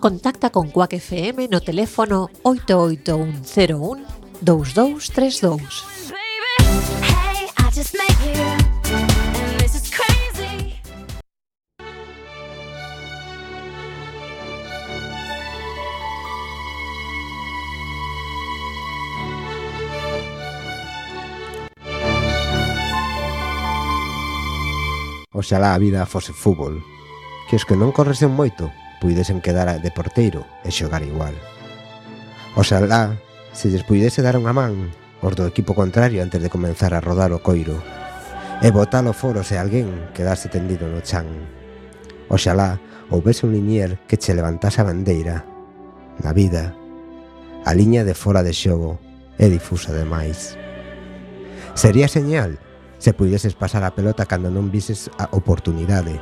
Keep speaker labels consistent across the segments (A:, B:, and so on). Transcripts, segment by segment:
A: Contacta con Quack FM no teléfono 88101 2232.
B: Hey, I just met you, and this is crazy.
C: Oxalá a vida fose fútbol. Que os que non corresen moito puidesen quedar de porteiro e xogar igual. Oxalá se lles puidese dar unha man os do equipo contrario antes de comenzar a rodar o coiro e botalo foro se alguén quedase tendido no chan. Oxalá houvese un linier que che levantase a bandeira. Na vida, a liña de fora de xogo é difusa demais. Sería señal se puideses pasar a pelota cando non vises a oportunidade.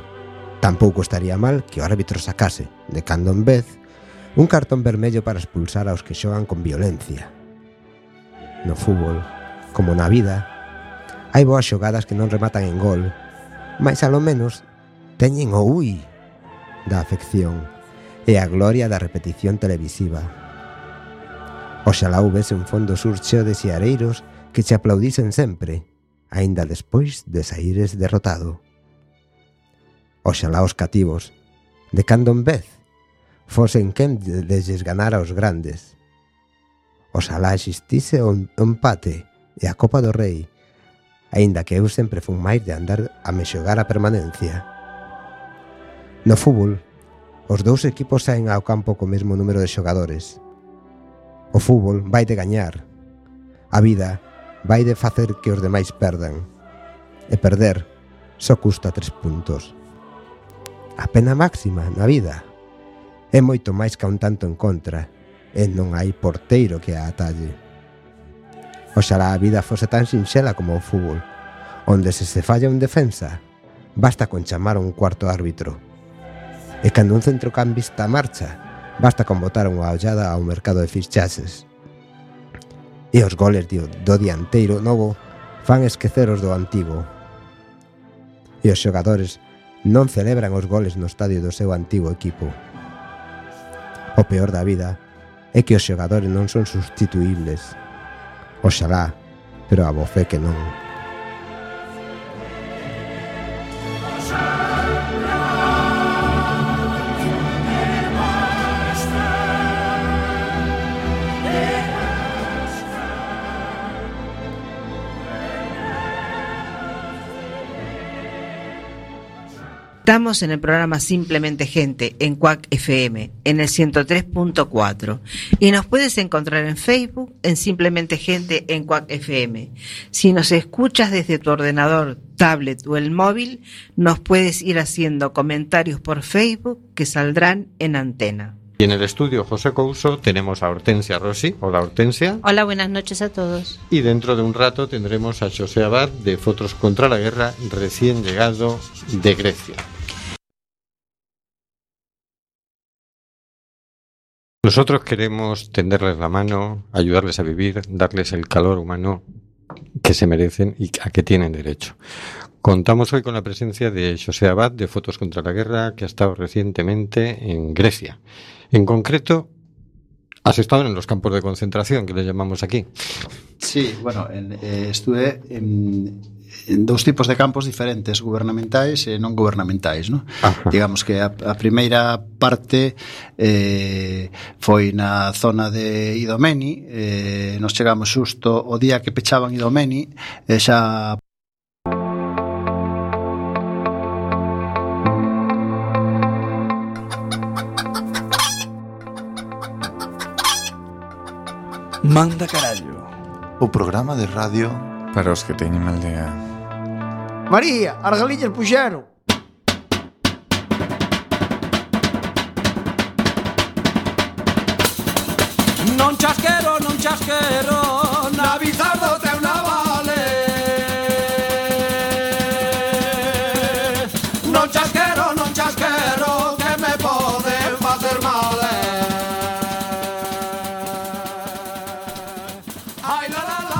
C: Tampouco estaría mal que o árbitro sacase, de cando en vez, un cartón vermello para expulsar aos que xogan con violencia. No fútbol, como na vida, hai boas xogadas que non rematan en gol, mas alo menos teñen o ui da afección e a gloria da repetición televisiva. Oxalá houvese un fondo sur cheo de siareiros que che aplaudisen sempre, aínda despois de saíres derrotado. Oxalá os cativos, de cando en vez, fosen quen de lles ganara os grandes. Oxalá existise o en- o empate e a Copa do Rei, aínda que eu sempre fun máis de andar a me xogar a permanencia. No fútbol, os dous equipos saen ao campo co mesmo número de xogadores. O fútbol vai de gañar. A vida vai de facer que os demais perdan. E perder só custa tres puntos. A pena máxima na vida é moito máis ca un tanto en contra e non hai porteiro que a atalle. Oxalá a vida fose tan sinxela como o fútbol, onde se se falla un defensa, basta con chamar a un cuarto árbitro. E cando un centrocampista marcha, basta con botar unha ollada ao mercado de fichaxes. E os goles do, do dianteiro novo fan esquecer os do antigo. E os xogadores non celebran os goles no estadio do seu antigo equipo. O peor da vida é que os xogadores non son sustituíbles. Oxalá, pero a bofé que non.
D: Estamos en el programa Simplemente Gente en Cuac FM en el 103.4 y nos puedes encontrar en Facebook en Simplemente Gente en Cuac FM. Si nos escuchas desde tu ordenador, tablet o el móvil, nos puedes ir haciendo comentarios por Facebook que saldrán en antena.
E: Y en el estudio José Couso tenemos a Hortensia Rossi. Hola Hortensia.
F: Hola, buenas noches a todos.
E: Y dentro de un rato tendremos a José Abad de Fotos contra la Guerra, recién llegado de Grecia. Nosotros queremos tenderles la mano, ayudarles a vivir, darles el calor humano que se merecen y a que tienen derecho. Contamos hoy con la presencia de José Abad de Fotos contra la Guerra, que ha estado recientemente en Grecia. En concreto, has estado en los campos de concentración, que le llamamos aquí.
G: Sí, bueno, en, eh, estuve en, en dous tipos de campos diferentes, gubernamentais e non gubernamentais, no?
E: Ajá.
G: Digamos que a, a primeira parte eh, foi na zona de Idomeni, eh, nos chegamos xusto o día que pechaban Idomeni, e xa
H: Manda carallo.
I: O programa de radio para os que teñen aldea.
H: María, as galiñas puxeron. Non chasquero, non chasquero, na bizardo teu navale. Non chasquero, non chasquero, que me pode facer mal. Ai, la, la, la.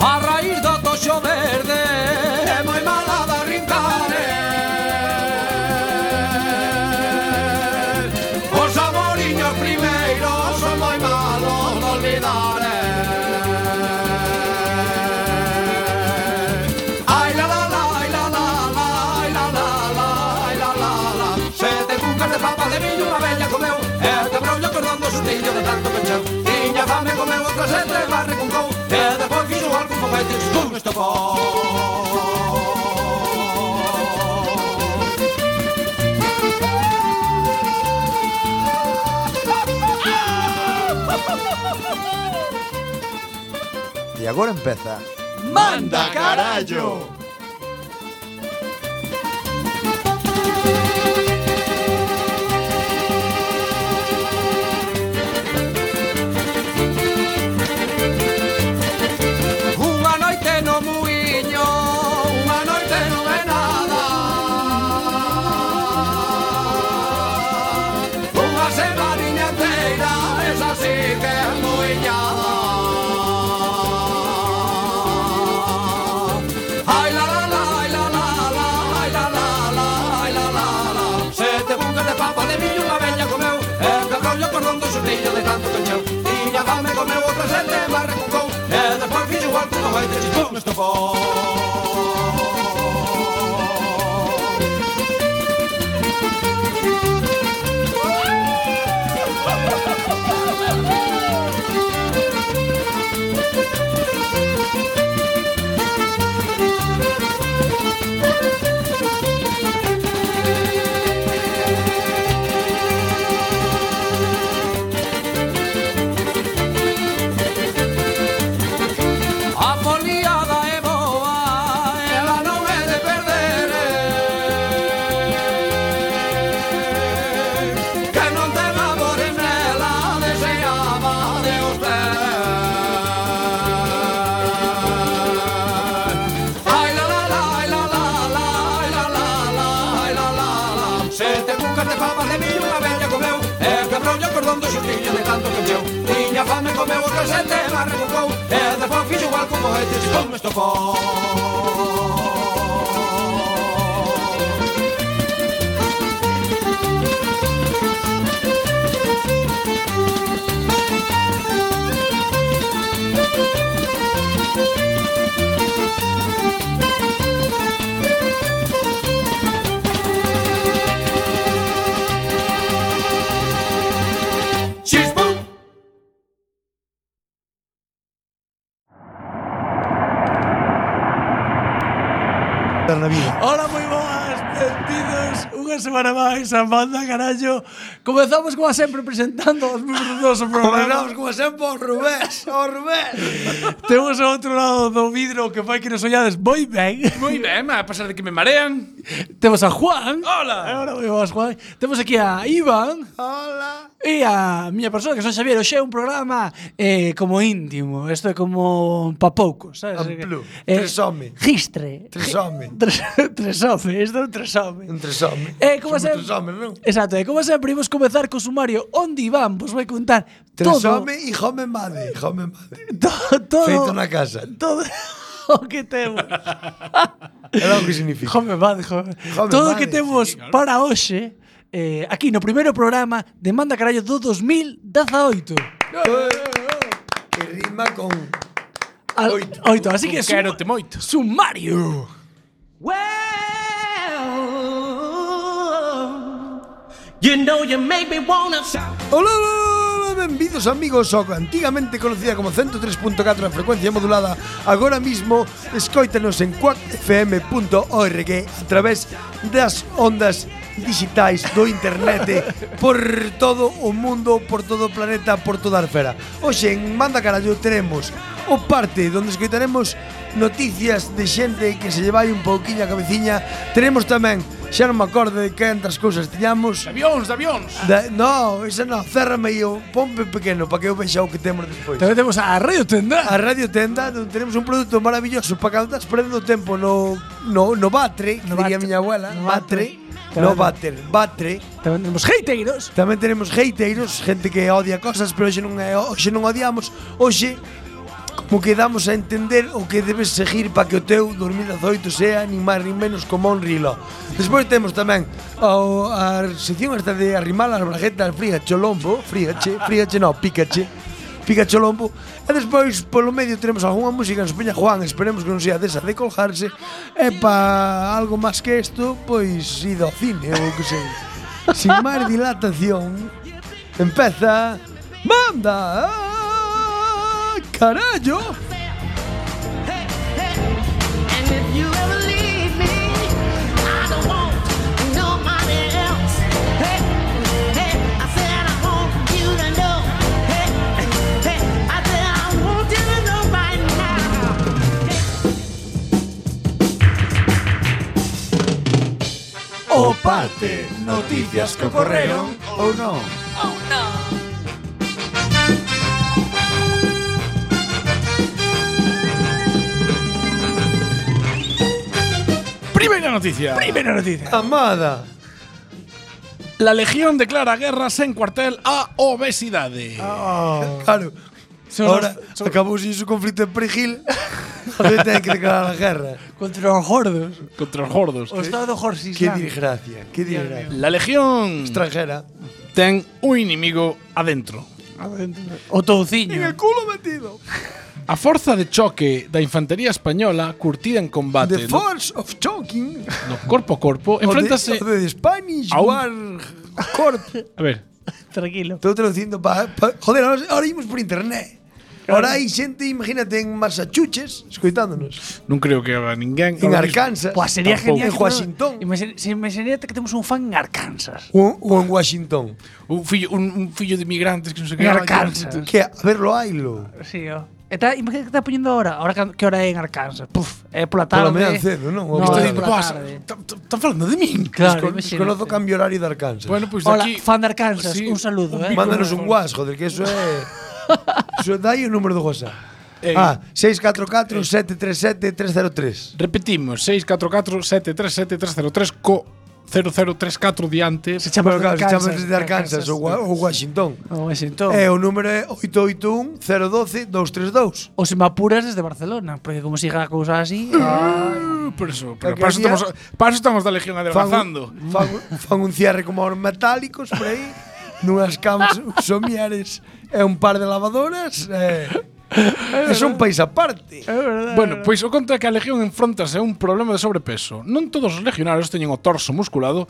F: A raíz do toxo verde É moi mala da rincare Os amoriños primeiros Son moi malos de olvidar eh. Ai la la la, ai la la la Ai la la la, ai la la la Sete cucas de papa de viño Unha bella comeu E te brollo cordón do sustillo de tanto pencheu Tiña fame comeu outra sete Barre con cou E depois fixo algo con foguetes Pum, estopou
J: E agora empeza.
F: ¡Manda carallo! Unha noite no muiño, unha noite no é nada Unha semaninha inteira, esa sí que é muiñada Ai la la la, ai la la la, ai la la la, ai la la la Sete bucas de papa de millo unha bella comeu E de rollo cordón do xurrillo de tanto cancheu Tiña fame comeu outra sete mas recucou E despois fixo igual que non vai ter chispón estofón A e foliada é boa, ela non é e de perder eh. Que non te labores nela, deseaba de usted Ai la la la, ai la la la, ai la la la, ai la la la Sete cucas de papas de millo unha bella comeu E quebrou o cordón do xurrillo de tanto que encheu Tiña fame comeu outra sete, mas recucou E despois fixo igual con cohetes e con estofón Chispum!
J: Dar na vida.
K: Ola, moi boas, benvidos unha semana máis a Banda Carallo. Comezamos, como sempre, presentando os membros do noso programa.
J: Comenzamos como sempre o Rubés, o Rubés.
K: Temos ao outro lado do vidro que fai que nos ollades moi ben.
L: Muy ben, a pesar de que me marean.
K: Temos a Juan.
L: Hola.
K: Ahora moi boas, Juan. Temos aquí a Iván.
J: Hola.
K: E a miña persona, que son Xavier, hoxe é un programa eh, como íntimo, isto é como pa poucos, sabes?
J: Amplú,
K: Eh,
J: tresome.
K: Gistre.
J: Tresome.
K: Tres, tresome, isto é un tresome.
J: Un tresome.
K: Eh, como
J: Somos
K: sempre,
J: tres homes, non?
K: Exacto, e como sempre, imos comezar co sumario onde Iván vos vai contar todo,
J: Tresome e home made, home made.
K: todo, todo,
J: Feito na casa.
K: todo o que temos.
J: É o que significa.
K: Jome, vale, jome.
J: Jome,
K: Todo o
J: vale.
K: que temos para hoxe, eh, aquí no primeiro programa de Manda Carallo do 2018.
J: Que rima con
K: Al, oito.
J: Oito.
K: Así
L: Un
K: que suma-
L: quérote moito.
K: sumario.
F: You know you make me wanna
J: Hola, hola, hola, benvidos amigos ao que antigamente conocida como 103.4 da frecuencia modulada Agora mismo escoítanos en quackfm.org a través das ondas
F: digitais do internet por todo o mundo, por todo o planeta, por toda a esfera. Hoxe en Manda Carallo teremos o parte donde escoitaremos noticias de xente que se llevai un pouquiño a cabeciña. Teremos tamén, xa non me acordo de cantas cousas tiñamos.
G: Avións, de avións.
F: Da, no, esa no, cérrame o pompe pequeno para que eu vexa o que temos despois.
D: Tamén temos a Radio Tenda.
F: A Radio Tenda, onde teremos un produto maravilloso para que andas perdendo tempo no, no, no batre, no diría a miña abuela, no batre. No bater, batre.
D: Tamén tenemos hateiros.
F: Tamén tenemos hateiros, gente que odia cosas, pero hoxe non, é- hoxe non odiamos. Hoxe, como que damos a entender o que debes seguir para que o teu 2018 sea nin máis nin menos como un rilo. Despois temos tamén o, a sección esta de arrimar as brajetas fría cholombo, fríache, fríache no, pícache, pica cholombo. E despois polo medio teremos algunha música nos Peña Juan, esperemos que non sea desa de colgarse. E pa algo máis que isto, pois ido ao cine ou o que sei. Sin máis dilatación, empeza Manda Carallo.
M: And if you ever leave me, I don't want nobody else. Hey, hey, I said I want you to know. Hey, hey, I said I want you to know right now.
J: O parte, noticias que ocorreron ou non.
G: Primera noticia.
D: Primera noticia.
F: Amada.
G: La Legión declara guerras en cuartel a obesidade.
F: Claro.
G: Son
F: Ahora
G: os-
F: acabou acabouse o conflito en Perigil. Agora ten que declarar a guerra.
D: Contra os gordos.
G: Contra os gordos.
D: O Estado Jorge
F: Que
D: Islam.
F: desgracia, que
D: Dios
F: desgracia.
G: La Legión
F: Extranjera
G: ten un inimigo adentro.
D: O touciño.
F: culo metido.
G: A forza de choque da infantería española curtida en combate no,
F: The Force of Choking.
G: no corpo a corpo enfréntase
F: O de, o de Spanish
G: a un-
F: War Corp.
G: A ver,
D: Tranquilo.
F: Estou traducindo para... Pa, joder, ahora, ahora imos por internet. Ahora hai xente, imagínate, en Massachusetts, escoitándonos.
G: non creo que haga ninguén.
F: En
G: ahora mismo.
F: Arkansas.
D: Pues sería
G: Tampoco.
D: genial.
F: En Washington.
D: Me sería que tenemos un fan en Arkansas.
F: Ou, ou en Washington.
G: Un fillo, un, un fillo de migrantes que non sei que.
D: En
G: Ay,
D: Arkansas.
G: que-
F: Que, a verlo, hailo.
D: Sí, ó. Está, imagínate que está poniendo ahora. Ahora que- que hora é en Arkansas. Puf, é pola tarde.
F: Pola media cedo, non?
D: No,
F: Isto
D: é
F: di,
D: pola
G: "Buah,
D: tarde.
G: ta- ta- Están falando de min.
D: Claro,
F: Con,
D: imagínate.
F: desconozo cambio horario de Arkansas.
G: Bueno, pois pues
D: Hola,
G: daqui
D: fan de Arkansas,
G: Sí,
D: un saludo,
G: un
D: eh.
G: pico
F: Mándanos
G: menos.
F: un WhatsApp, joder, que eso é... Eso dai o número do WhatsApp.
G: Eh,
F: Eh, Ah, 644-737-303.
G: Repetimos, 644-737-303 co 0034 diante.
D: Se chama
F: Bueno, claro, se
D: Arkansas.
F: chamas de Arkansas ou Wa- ou Washington.
D: O Washington.
F: É, o número é 881-012-232.
D: O se me apuras desde Barcelona, porque como siga a cousa así,
G: Ah, Por eso, pero
F: Aquel
G: para eso
F: día-
G: estamos, para eso estamos da Legión
F: Fan,
G: adelgazando.
F: un- fan, un- fan un cierre como aos metálicos por aí, nunhas cams somiares e un par de lavadoras. Eh, é un país aparte.
G: Bueno, pois o conta é que a Legión enfrontase a un problema de sobrepeso. Non todos os legionarios teñen o torso musculado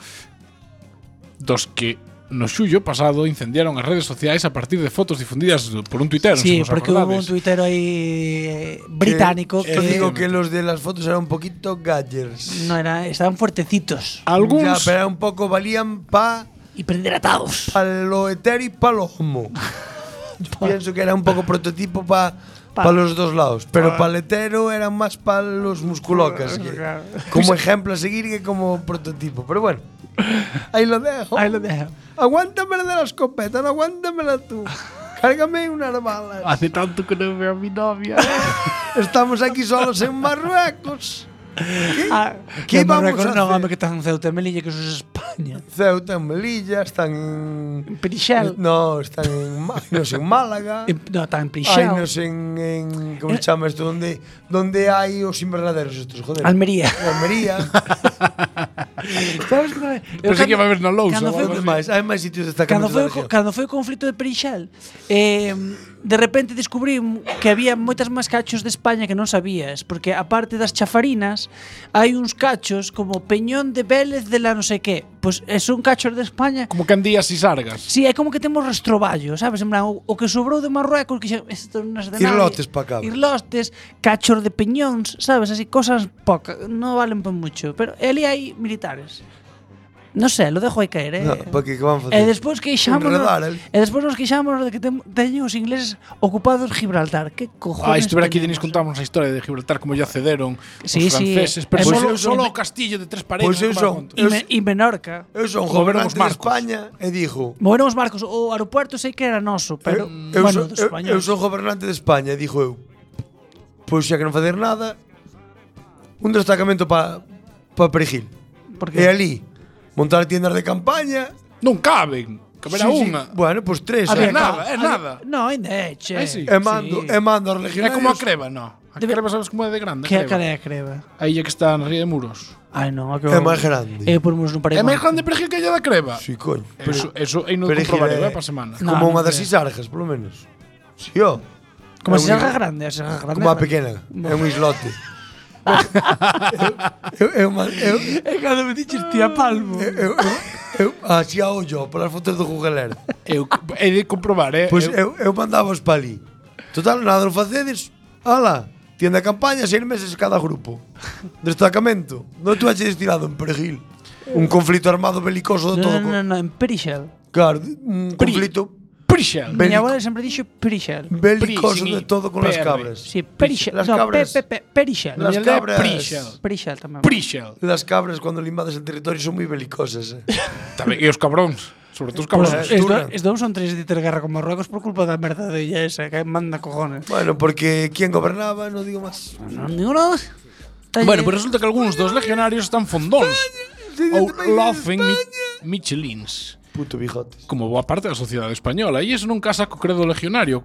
G: dos que no xullo pasado incendiaron as redes sociais a partir de fotos difundidas por un tuitero,
D: sí,
G: non sei se vos
D: porque hubo un
G: acordades.
D: tuitero ahí eh, británico que,
F: Yo digo que los de las fotos eran un poquito gallers.
D: no era, estaban fuertecitos
G: Alguns
F: Ya, pero era un poco valían pa,
D: y prenderados.
F: pa lo etéreo y pa lo homo. Yo pienso que era un poco prototipo pa, pa,
D: Pa-
F: los dos lados. Pero pa el etero eran más pa los musculocas. que- como ejemplo a seguir que como prototipo. Pero bueno, ahí lo dejo.
D: Ahí lo dejo.
F: Aguántame la de la escopeta, no aguántamela tú. Cárgame unas balas.
G: Hace tanto que non veo a mi novia.
F: Estamos aquí solos en Marruecos. ¿Qué,
D: Ah,
F: qué
D: que me
F: vamos
D: recuerdo-
F: a
D: no,
F: hacer?
D: home, que estás en Ceuta e Melilla, que eso es España.
F: Ceuta, en Melilla, están en...
D: Perixel.
F: No, están en, Ma- no sé, en Málaga.
D: En- No, está en
F: Ay,
D: Perixel.
F: no sé, en, en ¿cómo se llama esto? ¿Dónde, dónde hay os invernaderos estos, joder?
D: Almería.
F: En Almería.
D: Sabes que non é? Eu
G: Pensei que
D: cando-
G: iba a haber na Lousa
D: cando
G: ou
D: foi
G: algo
D: o-
F: ¿Dónde máis? Hai máis sitios
D: Cando
F: destacamentos
D: foi,
F: da
D: o co-
F: región.
D: cando foi o conflito de Perixel, eh, de repente descubrí que había moitas máis cachos de España que non sabías, porque aparte das chafarinas, hai uns cachos como Peñón de Vélez de la non sei que. Pois eh, son cachos de España
G: Como candías e sargas.
D: Sí, é como que temos rastroballo, sabes? En plan, o, o que sobrou de Marruecos que xa, isto non é de nadie.
F: Irlotes pa cabra.
D: Irlotes, cachos de
F: e
D: peñóns, sabes? Así, cosas poca, non valen pa mucho. Pero ali hai militares.
F: No sé, lo dejo aí caer, eh.
J: No, porque que van facer?
F: E despois queixámonos
J: Enredar, eh?
F: E despois nos queixámonos de que tem, teñen os ingleses ocupados Gibraltar. Que cojones?
N: Ah, estuviera aquí
F: teñen?
N: Denis contábamos a historia de Gibraltar como ya cederon
F: Sí,
N: os
F: sí.
N: franceses, pero
F: Eh, pois
N: solo,
F: eu son-
N: solo o castillo de tres paredes.
F: Pois eu son- E Me- e Menorca.
J: Eu son
N: Moveremos
J: gobernante de
N: marcos.
J: España e digo...
F: Moveron os barcos, o aeropuerto sei que era noso, pero
J: Eu,
F: bueno,
J: so,
F: dos
J: eu, eu
F: españoles.
J: son gobernante de España, dijo eu. Pois xa que non facer nada, un destacamento para pa Perejil.
N: Porque-
J: E ali, montar tiendas de campaña...
N: Non caben, caberá unha.
J: Bueno, pois tres.
N: Había
J: eh.
N: nada, é nada.
F: No, ainda é, che.
N: Ai, sí.
J: E mando,
N: Sí.
J: e mando aos
N: É
J: legionarios...
N: como a creva, no. A creva sabes como é de grande.
F: Que a cara é a creva.
N: A illa que está na ría de muros.
F: Ai, non, que
J: É máis grande.
F: Eu por muros non parei.
N: É máis grande perejil que illa da creva.
J: Sí, coño.
N: Eso, eso, aí non
J: Perejil
N: comprobaré, eh,
J: é-
N: pa semana.
J: é Como unha das isargas, polo menos. Si, ó.
F: Como
J: É un
F: a
J: islo-
F: sisarga grande, a sisarga grande
J: Como
F: é
J: a
F: grande.
J: pequena, é un islote. eu, eu, eu, eu,
F: É cando me dices tía Palmo.
J: Eu, eu, eu así a ollo, polas fotos do Google Earth.
N: Eu, é de comprobar, eh?
J: Pois eu, eu mandavos para ali. Total, nada non facedes. Ala, tienda de campaña, seis meses cada grupo. Destacamento. Non tú haches destinado en Perejil. Un conflito armado belicoso de
F: No,
J: todo.
F: no, no, no, en Perixel.
J: co- Claro, un
F: Pri-
J: conflito
N: Perixel.
F: Mi
J: Bélico.
F: abuela siempre dicho Perixel.
J: belicoso de todo con las cabras.
F: Sí, Perixel.
J: Las
F: No,
J: cabras.
F: pe- pe- pe- Perixel.
J: Las
F: Perixel.
J: cabras.
N: Perixel.
F: Perixel tamén.
N: Perixel.
J: Las cabras cuando le invades el territorio son muy belicosas. Eh.
N: Tamén, e os cabróns. Sobre todo os
F: Pues,
N: cabróns.
F: es,
J: Turra.
F: do- es dous son tres de ter guerra con Marruecos por culpa da merda de ella esa que manda cojones.
J: Bueno, porque quien gobernaba, no digo más.
F: Non digo nada. Está
N: Bueno,
F: lle-
N: pero resulta que algúns dos legionarios están fondóns ou locen mi michelins
J: Puto bigotes.
N: como boa parte da sociedade española e iso non casa co credo legionario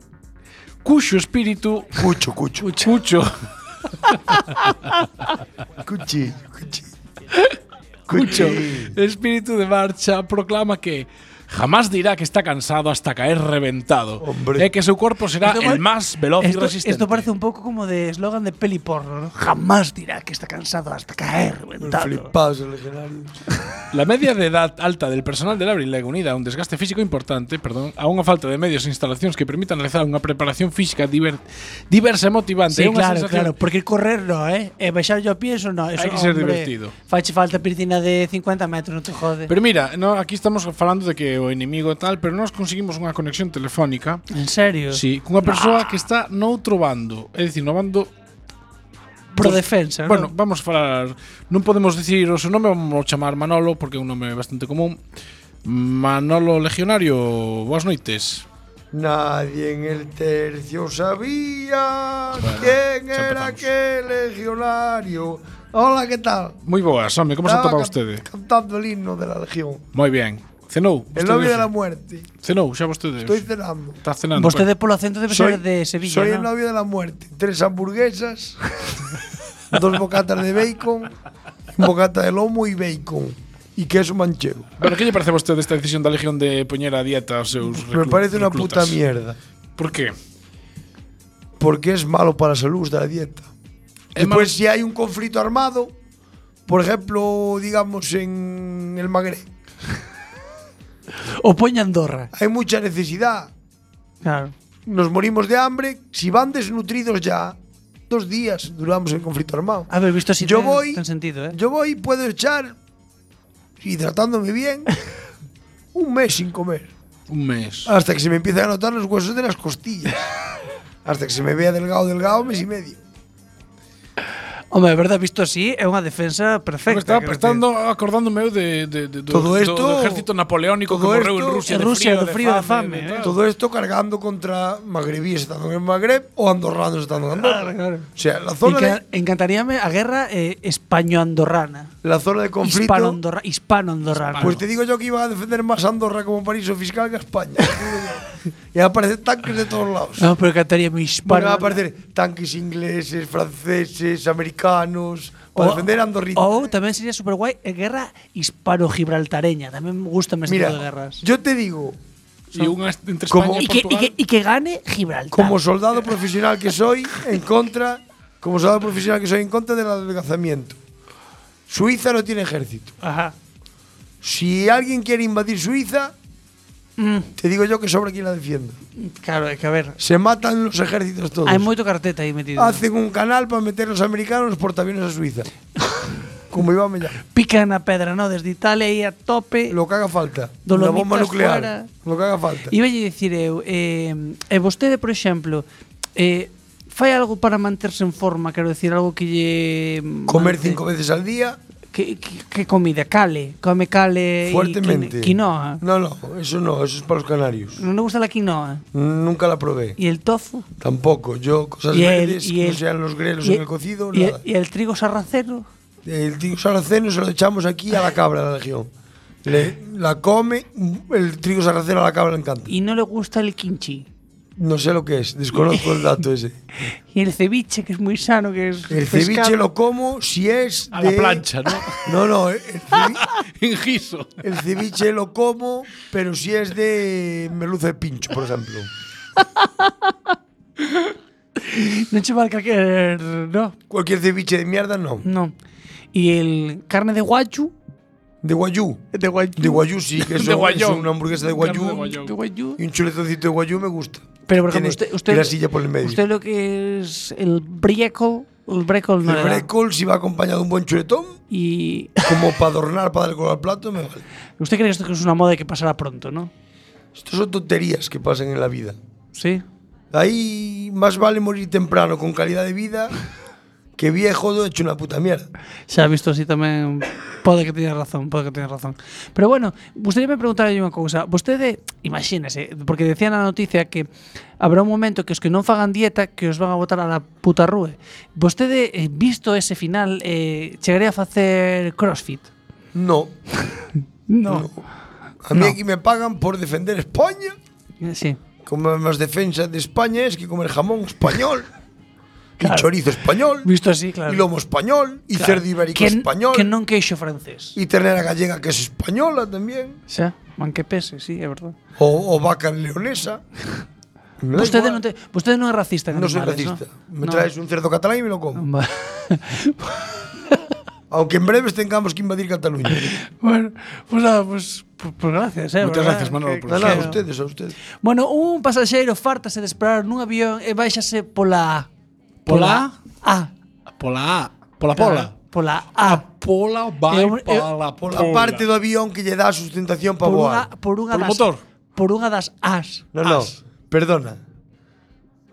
N: cuxo espírito
J: Cucho, cucho.
N: cucho
J: Cuchillo, cuchillo.
N: cucho
J: Cuchillo.
N: espírito de marcha proclama que jamás dirá que está cansado hasta caer reventado
J: Hombre.
N: e que seu corpo será
F: Esto
N: el
F: pa-
N: máis veloz e
F: Esto,
N: resistente
F: esto parece un pouco como de eslogan de peli porno, ¿no? Jamás dirá que está cansado hasta caer, reventado.
J: Flipados el legionario.
N: La media de edad alta del personal del Abrilega unida a un desgaste físico importante, perdón, a unha falta de medios e instalacións que permitan realizar unha preparación física diver- diversa e motivante. é
F: Sí,
N: unha
F: claro,
N: sensación-
F: claro, porque correr no, ¿eh? eh baixar yo a pie, eso no. Eso,
N: Hay que ser
F: hombre,
N: divertido.
F: Fache falta piscina de 50 metros, no te jode.
N: Pero mira, no, aquí estamos falando de que o inimigo e tal, pero nós conseguimos unha conexión telefónica
F: en serio?
N: sí, cunha persoa que está noutro bando, é dicir, no bando
F: Pro defensa,
N: Bueno,
F: ¿no?
N: vamos falar Non podemos dicir o seu nome Vamos chamar Manolo Porque é un nome bastante común Manolo Legionario Boas noites
J: Nadie en el tercio sabía quién
N: ya empezamos.
J: era aquel legionario. Hola, ¿qué tal?
N: Moi boas, home, como se
J: Estaba
N: atopa
J: can-
N: vostede?
J: Cantando el himno de la legión.
N: Moi ben. Cenou. vostede
J: El novio de
N: hoxe?
J: la muerte.
N: Cenou, xa vostedes.
J: Estoy cenando.
N: Está cenando. pues.
F: Vostede polo acento debe ser de Sevilla,
J: soy
F: ¿no?
J: el novio de la muerte. Tres hamburguesas, dos bocatas de bacon, bocata de lomo y bacon. Y queso manchego.
N: Bueno, que lle parece a vostede esta decisión da Legión de poñer a dieta aos seus reclu-
J: Me parece una puta
N: reclutas?
J: mierda.
N: Por qué?
J: porque es malo para la salud de la dieta.
N: É
J: Después,
N: malo-
J: si hay un conflicto armado, por ejemplo, digamos en el Magreb,
F: O poña Andorra.
J: hay mucha necesidad.
F: Claro.
J: Nos morimos de hambre. Si van desnutridos ya, dos días duramos el conflicto armado.
F: A ver, visto si
J: Yo
F: ten,
J: voy-
F: ten sentido, ¿eh?
J: Yo voy, puedo echar, hidratándome bien, un mes sin comer.
N: Un mes.
J: Hasta que se me empiezan a notar los huesos de las costillas. Hasta que se me vea delgado, delgado, mes y medio.
F: Hombre, de verdad, visto así, é unha defensa
N: Me
F: perfecta.
N: estaba
F: creo que-
N: prestando acordándome eu de, de, de, do-
J: Todo esto-
N: do, do ejército napoleónico que
J: todo
N: morreu en
J: esto-
N: Rusia,
F: en
N: de
F: Rusia,
N: frío,
F: do frío, de fame,
N: de
F: eh.
N: tal.
J: Todo esto cargando contra magrebíes estando en el Magreb o andorranos estando en Andorra.
F: Claro, claro.
J: O sea, la zona,
F: Enca-
J: de,
F: encantaríame a guerra eh, españo-andorrana.
J: la zona de conflicto.
F: Hispano-andorra- Hispano-andorrana.
J: Pues te digo yo que iba a defender más Andorra como paraíso fiscal que a España. y van a aparecer tanques de todos lados.
F: No, pero encantaríame
J: Van a
F: hispano
J: aparecer tanques ingleses, franceses, americanos. Para defender a Andorrita.
F: Ou tamén sería super guai a guerra hispano-gibraltareña. Tamén me gusta ese tipo
J: Mira,
F: de guerras.
J: yo te digo,
N: E unha entre España
J: Como-
N: e
F: y, que, y,
N: Portugal.
F: que, y que gane Gibraltar.
J: como soldado profesional que soy, en contra. Como soldado profesional que soy, en contra del adelgazamiento. Suiza no tiene ejército.
F: Ajá.
J: Si alguien quiere invadir Suiza,
F: Mm,
J: te digo yo que sobra quien la defienda.
F: claro, é que a ver.
J: Se matan los ejércitos todos.
F: Hai moito carteta aí metido.
J: Hacen un canal para meter los americanos los portaaviones a Suiza. Como iba a mellar.
F: Pican a pedra, ¿no? Desde Italia aí a tope.
J: Lo que haga falta.
F: Dolomitas
J: Una bomba nuclear.
F: fuera.
J: Lo que haga falta.
F: Iba a dicir eu, eh, e vostede, por exemplo, eh, fai algo para manterse en forma, quero decir, algo que lle...
J: Comer cinco veces al día.
F: Que, que, que comida? Cale, come cale y
J: Fuertemente.
F: quin- quinoa.
J: No, no, eso no, eso es para los canarios.
F: Non le gusta la quinoa.
J: Nunca la probé.
F: E el tofu?
J: Tampoco. Yo, cosas
F: Y el-
J: verdes, que
F: y
J: no
F: el-
J: sean los grelos
F: y-
J: en el cocido,
F: y-
J: nada.
F: y el trigo sarraceno?
J: El trigo sarraceno se lo echamos aquí a la cabra de la legión. Le- la come, el trigo sarraceno a la cabra le encanta.
F: Y no le gusta el kimchi.
J: No sé lo que es, desconozco el dato ese.
F: Y el ceviche, que es muy sano, que es
J: El ceviche lo como si es
N: A la
J: de-
N: plancha, ¿no?
J: No, no, el, cevi-
N: En guiso.
J: el ceviche lo como, pero si es de merluza de pincho, por ejemplo.
F: No che vale calquer, no.
J: Cualquier ceviche de mierda, no.
F: No. Y el carne de guayu,
J: De guayú.
F: de guayu,
J: De guayú sí, que
N: De
J: eso es
N: guayón.
J: una hamburguesa de
N: Carne
J: guayú.
N: de guayón.
F: de guayu.
J: Y un chuletoncito de guayú me gusta.
F: Pero por
J: Tiene
F: ejemplo, usted, usted,
J: grasilla por el medio.
F: usted lo que es el brécol, el brécol no
J: el
F: le da.
J: brécol, si va acompañado de un buen chuletón,
F: Y
J: como para adornar, para darle color al plato, me vale.
F: usted cree que esto que es una moda que pasará pronto, ¿no?
J: Estas son tonterías que pasan en la vida.
F: Sí.
J: Ahí más vale morir temprano con calidad de vida que viejo hecho una puta mierda.
F: Se ha visto así tamén Pode que teñas razón, pode que teñas razón Pero bueno, gustaría me preguntar unha cousa Vostede, imagínese Porque decía na noticia que Habrá un momento que os que non fagan dieta Que os van a botar a la puta rúe Vostede, eh, visto ese final eh, Chegaría a facer crossfit
J: No.
F: No,
J: A mí
F: No.
J: aquí me pagan por defender España.
F: no. Sí.
J: Como más defensa de España es que comer jamón español,
F: Claro.
J: y chorizo español,
F: Visto así, claro
J: y lomo español, y cerdo ibérico
F: que,
J: español,
F: Que non queixo francés
J: y ternera gallega que es española también,
F: Xa, man que pese, sí, é verdade
J: o, o vaca leonesa. Me da
F: Vostede
J: igual.
F: non, te, vostede non é racista en
J: No soy racista.
F: animales, ¿no?
J: Me
F: No.
J: traes un cerdo catalán y me lo como.
F: Va-
J: Aunque en breves tengamos que invadir Cataluña.
F: Bueno, pues nada, pues, pues, pues gracias, eh.
N: Muchas
F: ¿verdad?
N: gracias, Manolo, por
J: Nada, nada, a
F: que-
J: ustedes, a ustedes.
F: Bueno, un pasaxeiro fartase de esperar nun avión e baixase pola
N: Pola?
F: A.
N: Pola A. Pola pola.
F: Pola A.
N: Pola
F: É
N: vai
F: un- é-
N: pola pola.
J: La parte do avión que lle dá sustentación para
F: Por unha,
J: voar.
F: por unha
N: Polo
F: das,
N: motor.
F: Por unha das As.
J: No, no,
N: As.
J: perdona.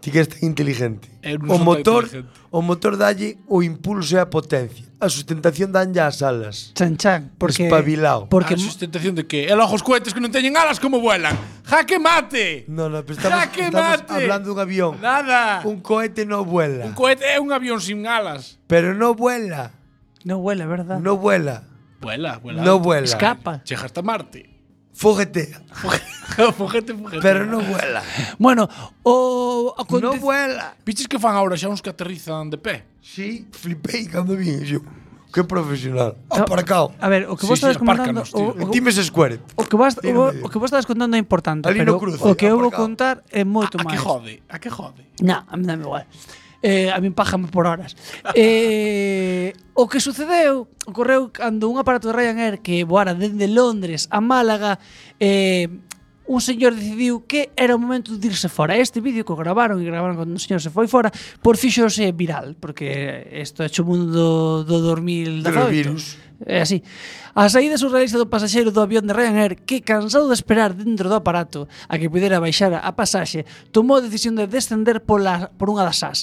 J: Ti que és tan inteligente.
N: Eu non son
J: O
N: tan
J: motor,
N: inteligente.
J: o motor dalle o impulso e a potencia. A sustentación danlle as alas.
F: Chan chan, porque
J: Espabilao.
N: Porque a
F: porque
N: Ah, sustentación de que ela os cohetes que non teñen alas como vuelan. Jaque mate.
J: No, no, pero estamos,
N: ¡Jaque mate!
J: estamos hablando dun avión.
N: Nada. Un,
J: Un cohete no vuela.
N: cohete é un avión sin alas.
J: pero no vuela.
F: non huele, verdad?
J: No vuela.
N: Vuela, vuela.
J: No vuela.
F: Escapa.
N: Chega hasta Marte.
J: Foguetea.
N: fujete, fujete.
J: Pero no vuela.
F: Bueno, o
J: no
F: acontece
J: vuela.
N: Piches que fan agora xa uns que aterrizan de pé.
J: Sí, flipei cando vin yo. Que profesional.
N: Oh,
J: Aparcado.
F: A ver, o
N: Sí,
F: que vos
N: sí,
F: estades comentando,
N: apárcanos,
F: o,
N: tío.
J: En
F: o,
J: Times Square.
F: o que vas, o,
J: Tírame.
F: o que vos estades contando é importante,
J: Ali no
F: pero
J: eh, cruce,
F: o que eu vou
J: aparcado.
F: contar é moito
N: A que
F: máis.
N: jode, a que jode.
F: Na, a mí dame igual. Eh, a min pájame por horas. Eh, o que sucedeu, ocorreu cando un aparato de Ryanair que voara dende Londres a Málaga, eh, un señor decidiu que era o momento de irse fora. Este vídeo que o gravaron e gravaron cando un señor se foi fora, por fixose viral, porque isto é o mundo do 2018.
J: De los virus.
F: É así. A saída surrealista do pasaxeiro do avión de Ryanair que, cansado de esperar dentro do aparato a que pudera baixar a pasaxe, tomou a decisión de descender pola, por unha das as.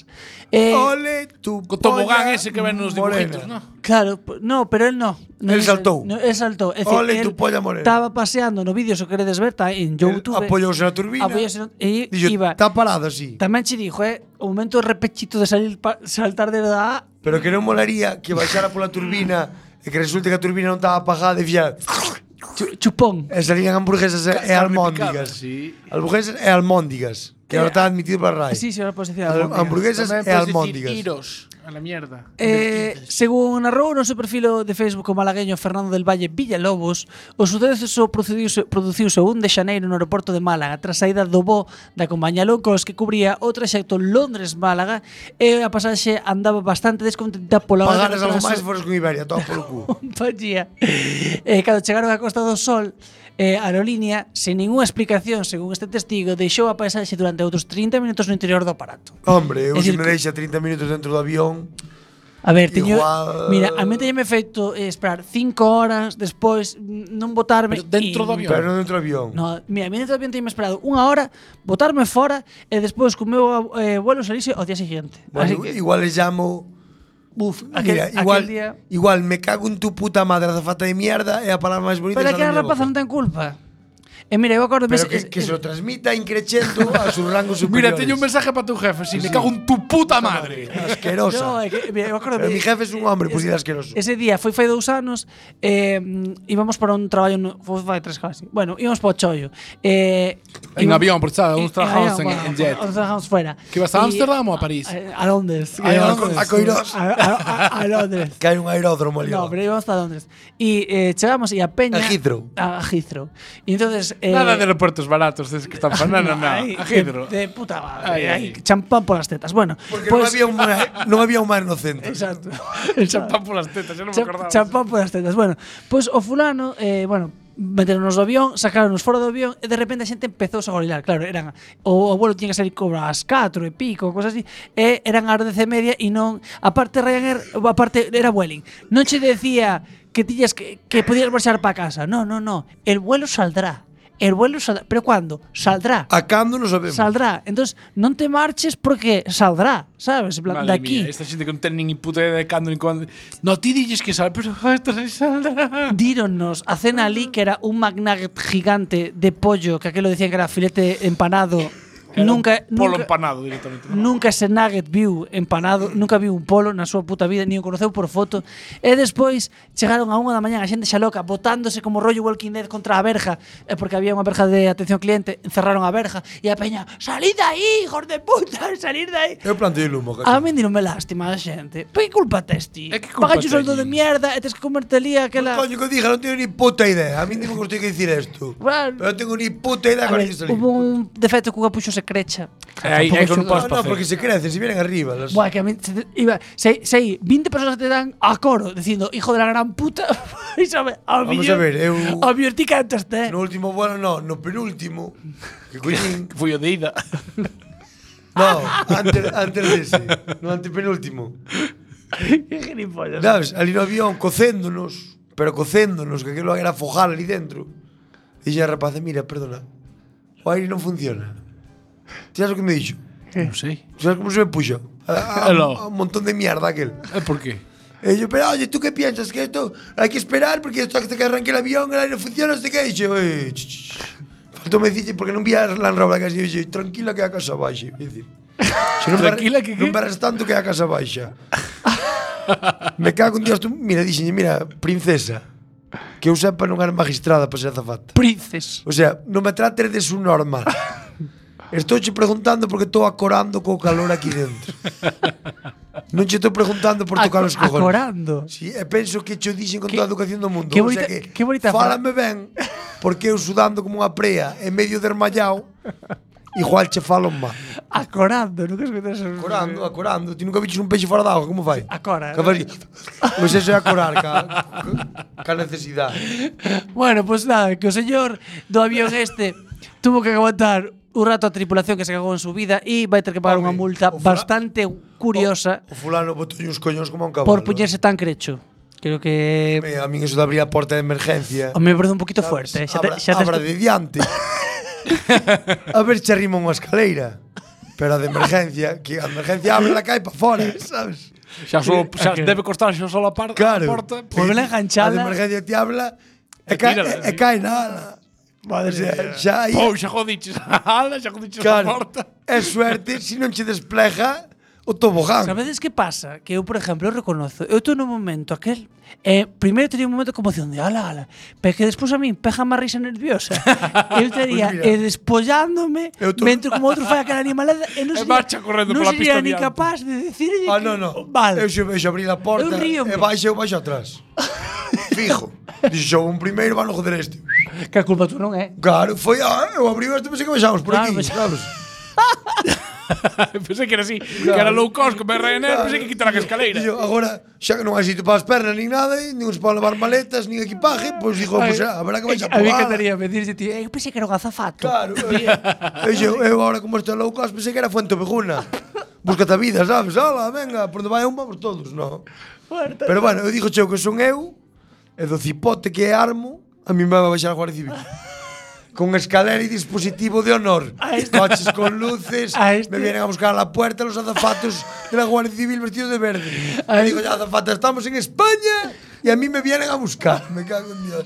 F: Eh,
J: Ole tu
N: Co tobogán
J: polla
N: ese que ven nos
J: morena.
N: dibujitos, no?
F: Claro, p- no, pero él no. no
J: Él saltou.
F: No, él saltou. É dicir,
J: Ole
F: él
J: tu polla morena.
F: Estaba paseando no vídeo, se o queredes ver, está en Youtube.
J: apoiouse na turbina.
F: Apoiouse na- e
J: Dixo,
F: eh, iba.
J: está parado así.
F: Tamén che dixo, eh, o momento repechito de salir pa, saltar de da A
J: Pero que non molaría que baixara pola turbina e que resulte que a turbina non estaba apagada e fixera
F: chu- chupón.
J: e salían hamburguesas e, e
N: carne
J: almóndigas.
N: picada, sí.
J: Hamburguesas e almóndigas. Que ahora está admitido para RAI.
F: Eh, Sí, sí, ahora podes decir
J: Al-
F: algo.
J: hamburguesas
N: Tamén podes
J: e
N: dicir
J: almóndigas.
N: Iros a la mierda.
F: Eh, según narrou no seu perfil de Facebook o malagueño Fernando del Valle Villalobos, o suceso produciuse, produciuse o 1 de xaneiro no aeroporto de Málaga tras saída do voo da compañía Locos que cubría o traxecto Londres-Málaga e a pasaxe andaba bastante descontenta pola hora
J: Pagaras
F: de
J: algo máis
F: atraso.
J: foras con Iberia, todo polo cu.
F: compañía. Eh, cando chegaron á Costa do Sol, eh, a aerolínea, sen ninguna explicación, según este testigo, deixou a paisaxe durante outros 30 minutos no interior do aparato.
J: Hombre, eu
F: Es
J: se
F: decir
J: me
F: que-
J: deixa 30 minutos dentro do avión
F: A ver, teño,
J: Igual-
F: mira, a mí teñeme feito eh, esperar cinco horas despois mm, non votarme
N: Pero dentro do avión.
J: Pero non dentro do avión.
F: No, mira, a mí dentro do avión teñeme esperado unha hora, votarme fora e despois co meu eh, vuelo salise ao día siguiente.
J: Bueno,
F: Así que,
J: igual le llamo. Buf,
F: Aquel-
J: mira,
F: aquel
J: igual,
F: día-
J: igual me cago en tu puta madre, azafata de mierda, es la palabra más bonita. que
F: pero
J: sale de
F: aquela
J: mi
F: rapaza
J: boca.
F: non ten culpa. E mira, eu acordo
J: Pero que, que se lo transmita increchendo a sus rangos superiores.
N: Pues, eh, Mira, teño un mensaje para tu jefe. Si me cago en tu puta madre.
J: Asquerosa.
F: No, é que, mira, eu acordo
J: Pero mi jefe es un hombre, pues dirás asqueroso.
F: Ese día foi fai dous anos eh, Íbamos para un traballo no, Foi fai tres casi Bueno, íbamos para o chollo eh,
N: En
F: íbamos-
N: avión, por xa, uns
F: en-
N: trabajábamos en,
F: avión,
N: en
F: bueno,
N: jet.
F: Nos trabajamos fuera.
N: ¿Que ibas a
F: Y-
N: Ámsterdam o a París?
F: A, a Londres.
N: A
F: Eh,
N: Londres.
J: A Coirós.
F: A, a- a- a Londres.
J: Que hay un aeródromo ali.
F: No, pero íbamos a Londres. Y eh, llegamos y a Peña.
J: A Heathrow.
F: A Heathrow. Y entonces. eh,
N: Nada de aeropuertos baratos, es que están No, no, no.
F: ay,
N: A Hidro.
F: De, de puta madre.
N: Ay, ay.
F: ay, champán por las tetas. Bueno.
J: Porque
F: pues,
J: no había un mar, no había un mar inocente.
F: Exacto.
N: El champán por las tetas, yo no me
F: Cha-
N: acordaba.
F: Champán por as tetas. Bueno, pois o fulano, eh, bueno, meteronos do avión, sacaronos fora do avión e de repente a xente empezou a gorilar. Claro, eran o, o vuelo tiña que salir cobra as 4 e pico, cosas así, e eran as 10 e media e non, aparte Ryanair, aparte era Vueling. Non che decía que tiñas que, que podías marchar para casa. No, no, no. El vuelo saldrá. El vuelo saldrá. Pero cuando?
N: Ah.
F: Saldrá.
J: A cando no sabemos.
F: Saldrá. Entonces, non te marches porque saldrá, sabes? En plan,
N: Madre
F: de aquí.
N: mía, este esta gente que no tiene ni puta idea de cando ni cuándo. No, ti dices que sale, pero esto se saldrá.
F: Díronnos a cena ali que era un McNugget gigante de pollo, que aquello decían que era filete empanado.
N: Era un
F: nunca,
N: Polo
F: nunca,
N: empanado directamente.
F: nunca ese nugget viu empanado, nunca viu un polo na súa puta vida, ni o conoceu por foto. E despois chegaron a unha da mañá a xente xa loca, botándose como rollo Walking Dead contra a verja, eh, porque había unha verja de atención cliente, encerraron a verja e a peña, salid de aí, hijos de puta, salid de aí.
J: Eu plantei o lumo, cacho.
F: A mí non me lástima a xente. Pois que culpa tes ti?
N: É que culpa
F: Pagache un soldo
N: teñen.
F: de mierda e tes que comerte ali aquela...
J: Coño, que dije, no tengo ni puta idea. A mí digo que os tengo que decir esto. pero
F: Bueno.
J: no tengo ni puta idea
F: A
J: cuál es
F: ver,
J: que salir.
F: hubo un defecto que o capucho se crecha.
N: Eh, ahí- ahí con un
J: No,
N: paso
J: no,
N: para
J: porque se crecen, se vienen arriba. Las...
F: Buah, que a mí se te- iba, se, se aí, 20 personas te dan a coro dicindo hijo de la gran puta. e sabe, a
J: Vamos a
F: millón-
J: ver, eu-
F: A millón ti cantaste.
J: No último vuelo, no, no penúltimo. Que coñín.
N: Fui yo de ida.
J: No, antes, antes de ese. No, antepenúltimo.
F: Que gilipollas.
J: Sabes, ali no avión, cocéndonos, pero cocéndonos, que aquilo era fojar ali dentro. E xa a rapaza, mira, perdona, o aire non funciona. Ti sabes o que me dixo?
N: No sé.
J: Ti sabes como se me puxo? A, a,
N: Aló.
J: a un montón de mierda aquel.
N: Eh, ¿Por qué?
J: E yo, pero oye, ¿tú qué piensas? Que esto hay que esperar porque esto hasta que arranque el avión, el aire no funciona, no sé qué. E yo, eh, ch, ch, ch. Faltou me dicir, porque non vi a Lan Raúl a casa. E yo, tranquila que a casa baixa. É dicir, se non me-
N: Tranquila que qué?
J: Non paras tanto que a casa baixa. me cago en Dios, tú, mira, dixenlle, mira, princesa, que eu sepa non era magistrada para ser azafata.
F: Princes.
J: O sea, non me trates de su normal. Estou che preguntando porque estou acorando co calor aquí dentro. non che estou preguntando por tocar os cojones.
F: Acorando.
J: Sí, e penso que cho dixen con
F: Que-
J: toda a educación do mundo.
F: que
J: o
F: bonita-
J: sea que,
F: que bonita fra-
J: Fálame ben, porque eu sudando como unha prea en medio dermallao, igual che falo má.
F: Acorando, nunca escutas eso.
J: Acorando, acorando. Ti nunca viches un peixe fora d'agua, como fai?
F: Acora.
J: Que fai así. Pois eso é acorar, ca, ca necesidade.
F: Bueno, pues nada, que o señor do avión este tuvo que aguantar un rato a tripulación que se cagou en su vida e vai ter que pagar
J: Home,
F: unha multa
J: o fra-
F: bastante curiosa
N: Oh,
J: O fulano botou uns coñóns como a un cabalo.
F: por puñerse tan crecho. Creo que
J: Eh, A min eso de abrir a porta de emergencia.
F: O me parece un poquito fuerte. eh. Xa te-
J: abra,
F: xa te-
J: abra de diante. a ver se arrima unha escaleira. Pero a de emergencia, que a emergencia abre la cae para fora, sabes?
N: Xa só- xa
F: que-
N: debe costar xa só a par- a
J: Claro.
N: porta.
F: Volvela
J: A de
F: enganchada.
J: emergencia te habla e, ca
N: tírala,
J: e, e
N: sí.
J: cae nada. Madre
N: Eh,
J: mía. Xa aí,
F: Oh,
N: Pou, xa jodiches a ala, xa jodiches a
J: claro,
N: oh, porta.
J: é suerte se non che despleja o tobogán.
F: Sabedes que pasa? Que eu, por exemplo, eu reconozo, eu tuve un momento aquel, eh, primeiro tería un momento de conmoción de ala, ala, pero que despois a min pega má risa nerviosa. eu tería
J: Pois mira.
F: e "Eh, despollándome,
J: Eu tu-
F: mentre como outro fai aquela animalada, e
N: E
F: non sería,
N: marcha correndo
F: non
N: pola
F: sería
N: pista
F: ni
N: adiante.
F: capaz de decirlle
J: Ah,
F: que-
J: non, non.
F: Vale.
J: Eu xe vexo abrir a porta
F: Eu
J: e
F: ríome.
J: baixo, eu baixo eh, atrás. Fijo. Dixo, un primeiro van a joder este.
F: Que a culpa tú ¿eh? non é.
J: Claro, foi, ah, eu abrí este, pensei que baixamos por aquí,
F: Claro, baix-
J: sabes?
N: Pensei que era así, que era low cost, como Ryanair, pensei que quitar a escaleira.
J: E eu, agora, xa que non hai sitio para as pernas nin nada, e nin para levar maletas, nin equipaje, pois dixo, pois xa, habrá que baixar
F: a mí
J: por ala.
F: encantaría me dirse, tío, eu pensei que era un azafato.
J: Claro, eu, eu, eu agora como estou low cost, pensei que era Fuente Beguna. búscate a vida, sabes? Ala, venga, por onde vai un vamos todos, no. Pero bueno, eu digo cheo que son eu e do cipote que é armo, a mi me vai baixar a Guardia Civil. Con escalera e dispositivo de honor. Coches con luces, me vienen a buscar a la puerta los azafatos de la Guardia Civil vestidos de verde. Y digo, ya azafata, estamos en España y a mí me vienen a buscar. Me cago en Dios.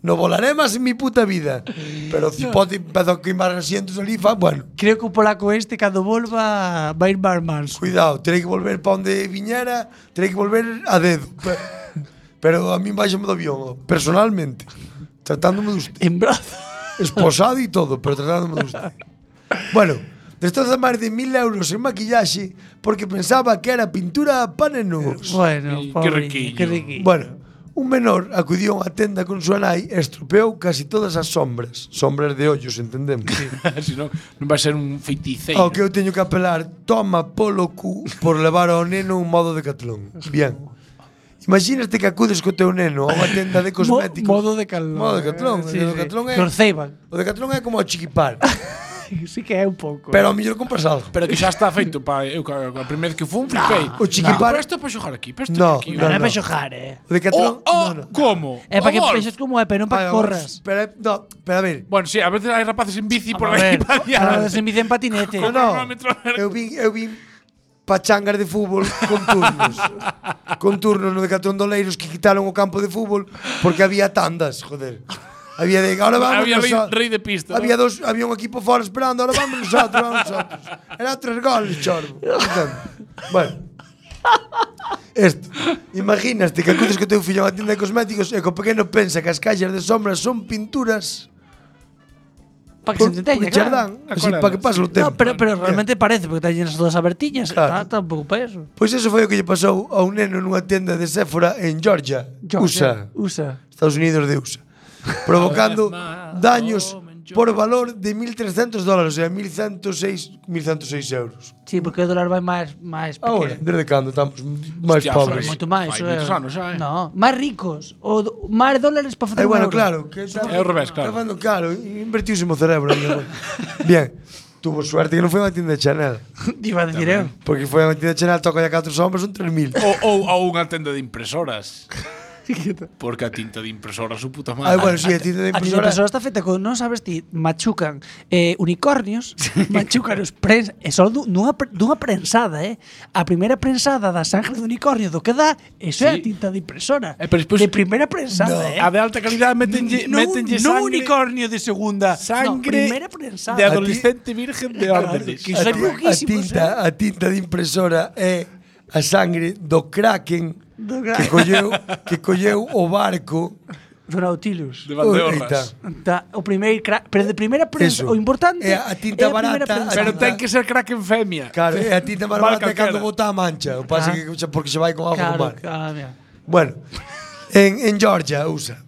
J: No volaré más en mi puta vida. Pero o cipote empezou a queimar asientos ali, fa, bueno.
F: Creo que o polaco este cando volva vai ir bar manso.
J: Cuidado, terei que volver pa onde viñera, terei que volver a dedo. Pe- Pero a mí baixame do avión, ó, personalmente. Tratándome de usted.
F: En brazo.
J: Esposado e todo, pero tratándome de usted. Bueno, destroza máis de mil euros en maquillaxe porque pensaba que era pintura para nenos.
F: Bueno, pobre, riquillo. que riquillo.
J: Bueno, un menor acudiu a unha tenda con súa nai e estropeou casi todas as sombras. Sombras de ollos, entendemos.
N: si non, non vai ser un feiticeiro.
J: Ao Oh, que eu teño que apelar, toma polo cu por levar ao neno un modo de catlón. Bien. Imagínate que acudes co teu neno a unha tenda de cosméticos.
F: modo de catlón.
J: Modo de catlón.
F: Sí,
J: o de
F: sí.
J: catlón é,
F: Que os ceiban.
J: o de catlón é como o chiquipar.
F: sí que é un pouco.
J: pero ao
N: Pues,
J: mellor compras algo.
N: Pero que xa está feito pa, eh, eu ca- a primeira vez que fun flipei.
J: O
N: Pero
J: chiquipar-
N: isto é para xogar aquí, pero isto
J: No,
N: aquí.
J: no, no.
F: é para xojar, eh.
J: O de catlón...
N: Oh, oh, como?
F: É para que
N: Por favor.
F: penses como é, pero non para que corras.
J: Pero, é- no, pero a ver,
N: Bueno, sí, a veces hai rapaces en bici por
F: A
N: aí.
F: ver,
N: pa diante.
F: ahora desenvidia en patinete.
J: No, no. Eu vin, eu vin pachangas de fútbol con turnos. con turnos no Decathlon de Oleiros que quitaron o campo de fútbol porque había tandas, joder. Había de, ahora vamos
N: Había rei-
J: nosotros.
N: rei de pista,
J: Había
N: ¿no?
J: dos, había un equipo fora esperando, ahora vamos nosotros, vamos nosotros. Era tres goles, chorbo. Entendo? Bueno. Esto. Imaginaste que acudes que teu fillo a unha tienda de cosméticos e que o pequeno pensa que as calles de sombras son pinturas
F: Para que se
J: por- porque
F: entende,
J: che dan,
F: claro.
J: así, para que pase o tempo.
F: No, pero, pero realmente parece, porque te llenas todas as abertiñas.
J: Claro.
F: Claro. Está tampouco para eso.
J: Pois eso foi o que lle pasou a un neno nunha tenda de Sephora en Georgia, USA,
F: Usa.
J: Estados Unidos de USA, provocando daños por valor de 1.300 dólares, ou sea, 1.106, 1.106 euros.
F: Sí, porque o dólar vai máis máis
N: Ah,
J: Ahora,
F: pequeno.
J: desde cando estamos máis
N: Hostia, foi.
J: pobres.
F: Moito máis,
N: Vai,
F: eh.
N: moitos anos xa, eh.
F: No, máis ricos. O do- máis dólares para
J: Eh,
F: facer un
J: bueno,
F: euro.
J: claro, que está,
N: É o revés, claro.
J: Está falando claro, invertiuse o cerebro. amigo. Bien, tuvo suerte que non foi a unha tienda de Chanel,
F: Iba a decir eh. eu.
J: porque foi a unha tienda de Chanel, toca a 4 sombras, son 3.000.
N: Ou, ou a unha tenda de impresoras. Porque a tinta de impresora su puta madre.
J: Ah, bueno, sí, a tienda de
F: A ti
J: impresora.
F: impresora está feita con, non sabes ti, machucan eh, unicornios, machucan os prens, e só du- dunha, pre- dunha prensada, eh? A primeira prensada das ángeles do unicornio do que dá, eso é a
N: Sí.
F: tinta de impresora.
N: Eh, pero despois-
F: de primeira prensada, eh?
N: A de alta calidad métenlle,
F: no,
N: métenlle
F: no
N: sangre.
F: unicornio de segunda, no,
N: Sangre
F: primera prensada.
N: de adolescente virgen de órdenes.
F: que son
J: a
F: pouquísimos, eh.
J: tinta, a tinta de impresora é a sangre do Kraken
F: Do
J: que
F: Kraken.
J: colleu, que colleu o barco.
F: Do Nautilus.
N: De
J: Eita.
N: bandeorras.
F: Da, o primeiro, cra- pero de primeira prensa,
J: Eso.
F: o importante
J: É a tinta
F: primeira
J: barata,
F: prensada.
N: Pero
J: Tinta-
N: ten que ser Kraken femia.
J: Claro, é a tinta máis
N: Val
J: barata cando
N: calquera.
J: bota a mancha. O pasa que xa- porque se vai con algo
F: Ah. Claro,
J: do mar.
F: ah, mira.
J: Bueno, en, en Georgia, USA,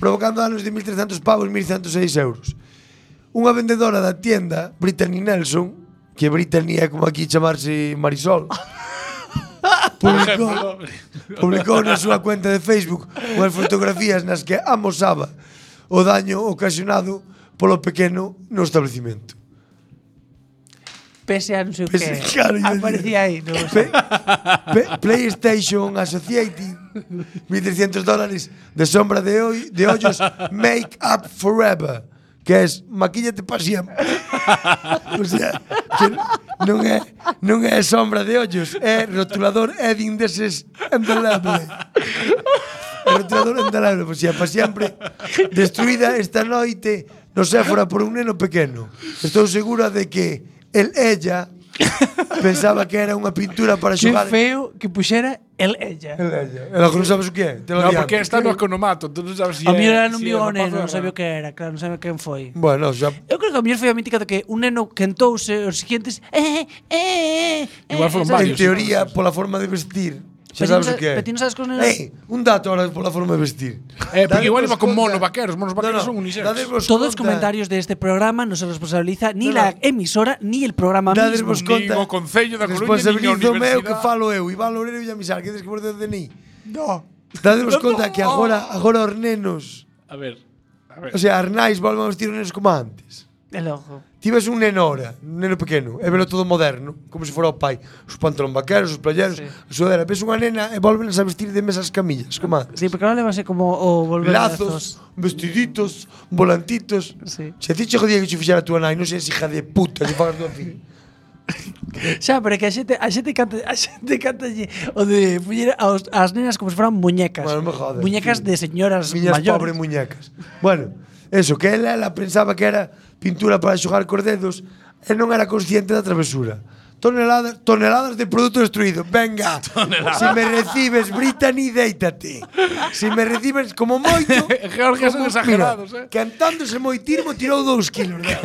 J: provocando danos de 1.300 pavos, 1.106 euros. Unha vendedora da tienda, Brittany Nelson, que Brittany é como aquí chamarse Marisol, publicou, publicou na súa cuenta de Facebook unhas fotografías nas que amosaba o daño ocasionado polo pequeno no establecimento.
F: Pese a non sei o
J: Pese-
F: que.
J: claro, yo-
F: Aparecía aí. No,
J: Pe- Pe- PlayStation Associated 1300 dólares de sombra de, hoy, de hoyos Make Up Forever que es maquíllate para siempre o sea que non é non é sombra de hoyos é rotulador Edding deses indeleble É rotulador indeleble o sea, para siempre destruída esta noite no Sephora por un neno pequeno estou segura de que el ella pensaba que era unha pintura para
F: que
J: xogar
F: feo que puxera el ella.
J: El ella. El ojo no sabes o que é. Te lo
N: No,
J: adianto.
N: porque está no economato, tú non sabes si
F: A mí era
N: non
F: non viu o neno, non sabía o que era, claro, non sabía quen foi.
J: Bueno, xa...
F: Eu creo que a mellor foi a mítica de que un neno quentouse os siguientes... Eh, eh, eh, eh,
N: Igual foron
F: sabes?
N: varios.
J: En teoría, pola forma de vestir, xa
F: Pero
J: sabes
F: non
J: o que é.
F: sa- pero ti non sabes que os nenos-
J: Ei, un dato ahora pola forma de vestir.
N: Eh, porque
J: Dadevos
N: igual iba con
J: conta-
N: mono vaqueros, monos vaqueros son unisex.
J: dadevos
F: Todos los
J: conta-
F: comentarios de este programa no se responsabiliza ni
J: No,
F: la
J: no.
F: emisora ni el programa mismo.
J: Dadevos conta.
N: Nin o Concello da Coruña, nin a
J: Responsabilizo meu
N: universidade.
J: que falo eu. Iván Loureiro e Villamizar, que des que mordes de ni. No. Dadevos conta que agora, agora os nenos,
N: A ver. A ver.
J: o sea, Arnais volven a vestir os nenos como antes.
F: E logo.
J: Tives un neno ahora, un neno pequeno, e velo todo moderno, como se fora o pai. Os pantalón vaqueros, os playeros, sí. a sudadera. Ves unha nena e volvenes a vestir de mesas camillas, como antes.
F: Sí, porque ahora levase como o volver
J: Lazos, vestiditos, volantitos.
F: Sí.
J: Se ti che jodía que che fixera a túa nai, non sei se hija de puta, se fagas túa filla.
F: Xa, pero é que a xente, a xente canta, a xente canta o de puñer aos, as nenas como se foran muñecas.
J: Bueno, me jodas,
F: muñecas
J: tío.
F: de señoras
J: Miñas
F: mayores.
J: pobre muñecas. Bueno, eso, que ela, ela pensaba que era pintura para xogar cos dedos e non era consciente da travesura. Toneladas, toneladas de produto destruído. Venga,
N: Toneladas.
J: si me recibes, Brittany, déitate. Si me recibes como moito...
N: Georgia son
J: como-
N: exagerados, eh.
F: eh.
J: mira, Cantándose moitirmo tirou dous kilos. de-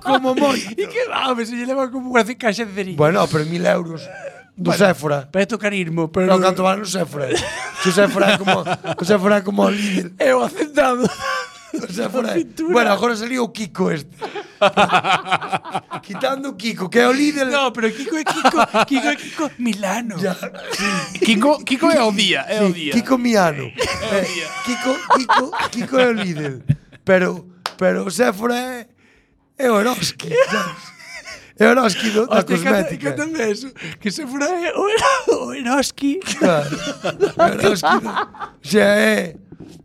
J: como moito.
F: E que va, se lle leva como unha caixa de cerillas.
J: Bueno, pero mil euros do
F: Bueno,
J: Sephora.
F: Pero é tocarismo, pero...
J: Non canto van no Sephora. Se o Sephora é como, o Sephora é como o líder.
F: É o aceptado.
J: O sea, por
F: Da
J: aí.
F: pintura.
J: Bueno, agora saliu o Kiko este. Quitando o Kiko, que é o líder.
F: No, pero Kiko é Kiko, Kiko é Kiko Milano.
J: Ya.
N: Kiko, Kiko é o día, é o día.
J: Kiko Miano. Eh, Kiko, Kiko, Kiko é o líder. Pero, pero o Sephora é, é o Eroski. sabes? É o Eroski do, da
F: Hostia,
J: cosmética.
F: cántame eso. Que se fora é o, o Eroski.
J: Claro. O Eroski do, o sea, é,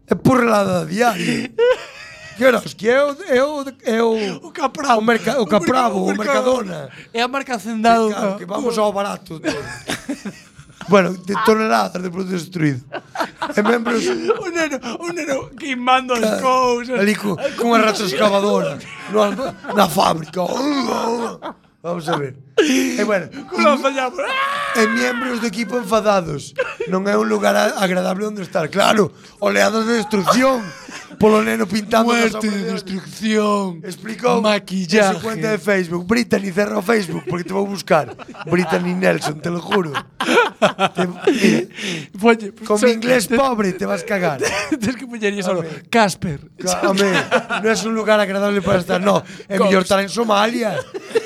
J: é porrelada diario. Que Eroski é o, é o, é o,
F: O Capravo.
J: o, merca, o Capravo, o Mercadona.
F: É a marca Hacendado.
J: Claro, que vamos ao barato. tío. bueno, de toneladas de produto destruído. E membros
F: Un neno, un neno queimando as cousas.
J: ali cu, cunha retroescavadora no, alma- na fábrica. Vamos a ver. E bueno,
F: Cula fallamos.
J: e membros do equipo enfadados. Non é un lugar a- agradable onde estar. Claro, oleados de destrucción. Polo neno pintando nas
N: Muerte,
J: obras de arte.
N: destrucción,
J: Explicou en su cuenta de
N: maquillaje.
J: Facebook. Brittany, cerra o Facebook porque te vou buscar. Brittany Nelson, te lo juro. Te, mira,
F: Oye,
J: con mi
F: so-
J: inglés
F: te-
J: pobre te vas a cagar.
F: Tens que poñer iso.
J: Home.
F: Casper.
J: Home, non é un lugar agradable para estar, no. É
N: Cops.
J: mellor estar en Somalia,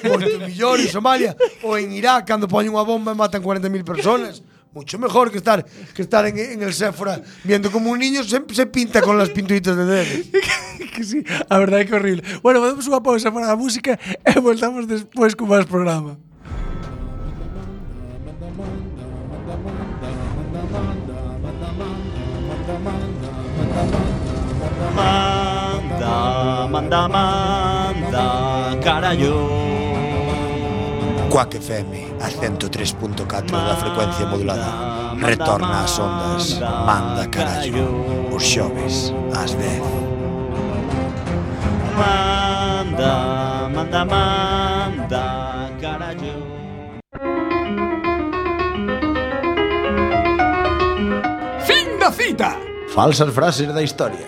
J: moito mellor en Somalia, ou en Irak, cando poñen unha bomba e matan 40.000 personas. Mucho mejor que estar que estar en, en el Sephora viendo como un niño se, se pinta con las pinturitas de dedos.
F: que sí, a verdade é que é horrible. Bueno, podemos unha pausa para a música e voltamos despois con máis programa.
H: Manda, manda, manda, carallo.
O: Cuac FM, a 103.4 da frecuencia modulada. Retorna ás ondas, manda carallo, os xoves, ás 10.
H: Manda, manda, manda, carallo.
F: Fin da cita!
I: Falsas frases da historia.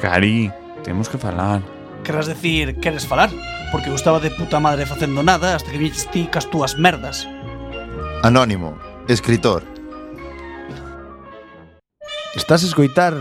I: Cari, temos que falar.
P: Querrás decir, queres falar? Porque eu estaba de puta madre facendo nada hasta que viñeches ti cas túas merdas.
I: Anónimo, escritor.
O: Estás a escoitar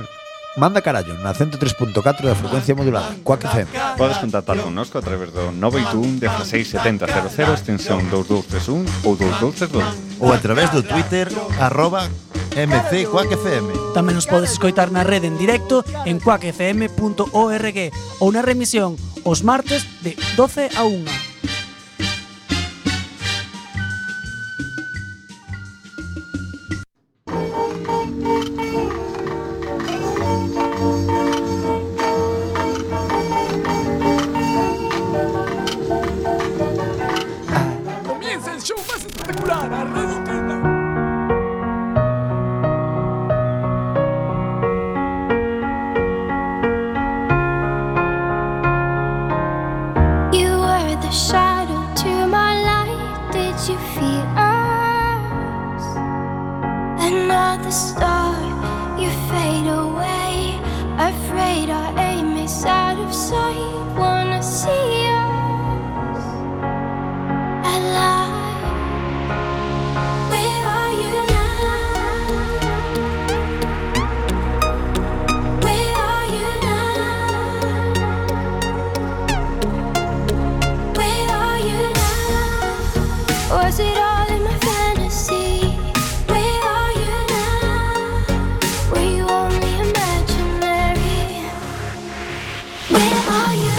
O: Manda carallo na 103.4 da frecuencia modulada. Cuac FM.
Q: Podes contactar connosco a través do 921 167000 extensión 2231 ou 2232.
O: Ou a través do Twitter arroba MC Cuac FM.
P: Tamén nos podes escoitar na rede en directo en cuacfm.org ou na remisión os martes de 12 a 1.
N: Comienza el show más espectacular, a Radio Tenda.
M: You were the shadow to my light. Did you feel us? Another star, you fade away. Afraid our aim is out of sight. Wanna see us alive. Where are you now? Where are you now? Where are you now? Was it all in my fantasy? Where are you now? Were you only imaginary? Where are you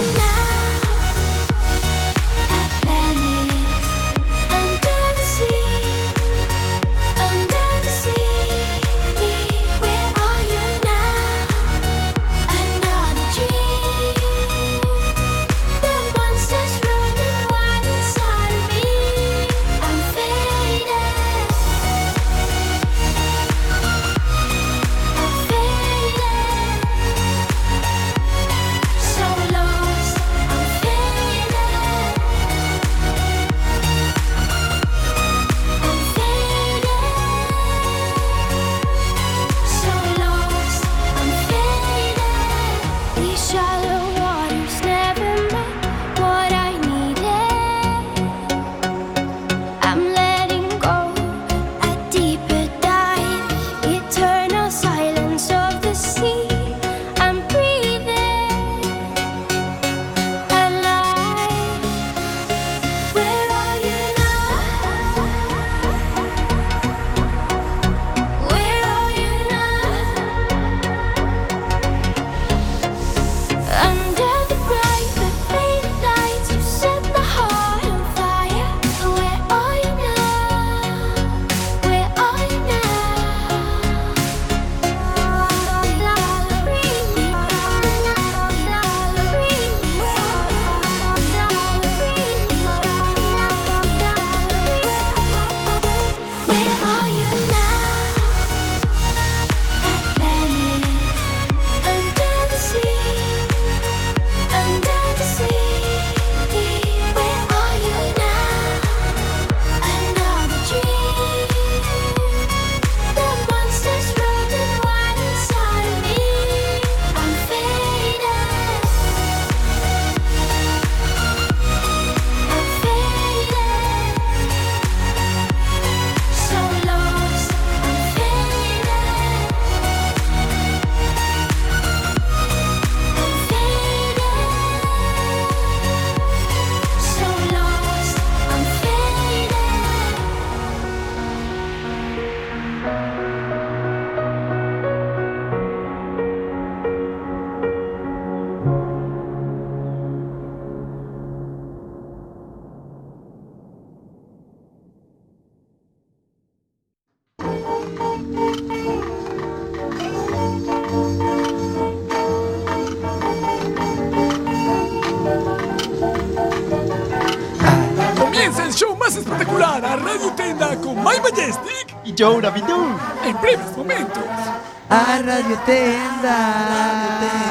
F: más espectacular a Radio Tenda con My Majestic
R: y Joe Rabidou.
F: En breves momentos.
S: A Radio Tenda.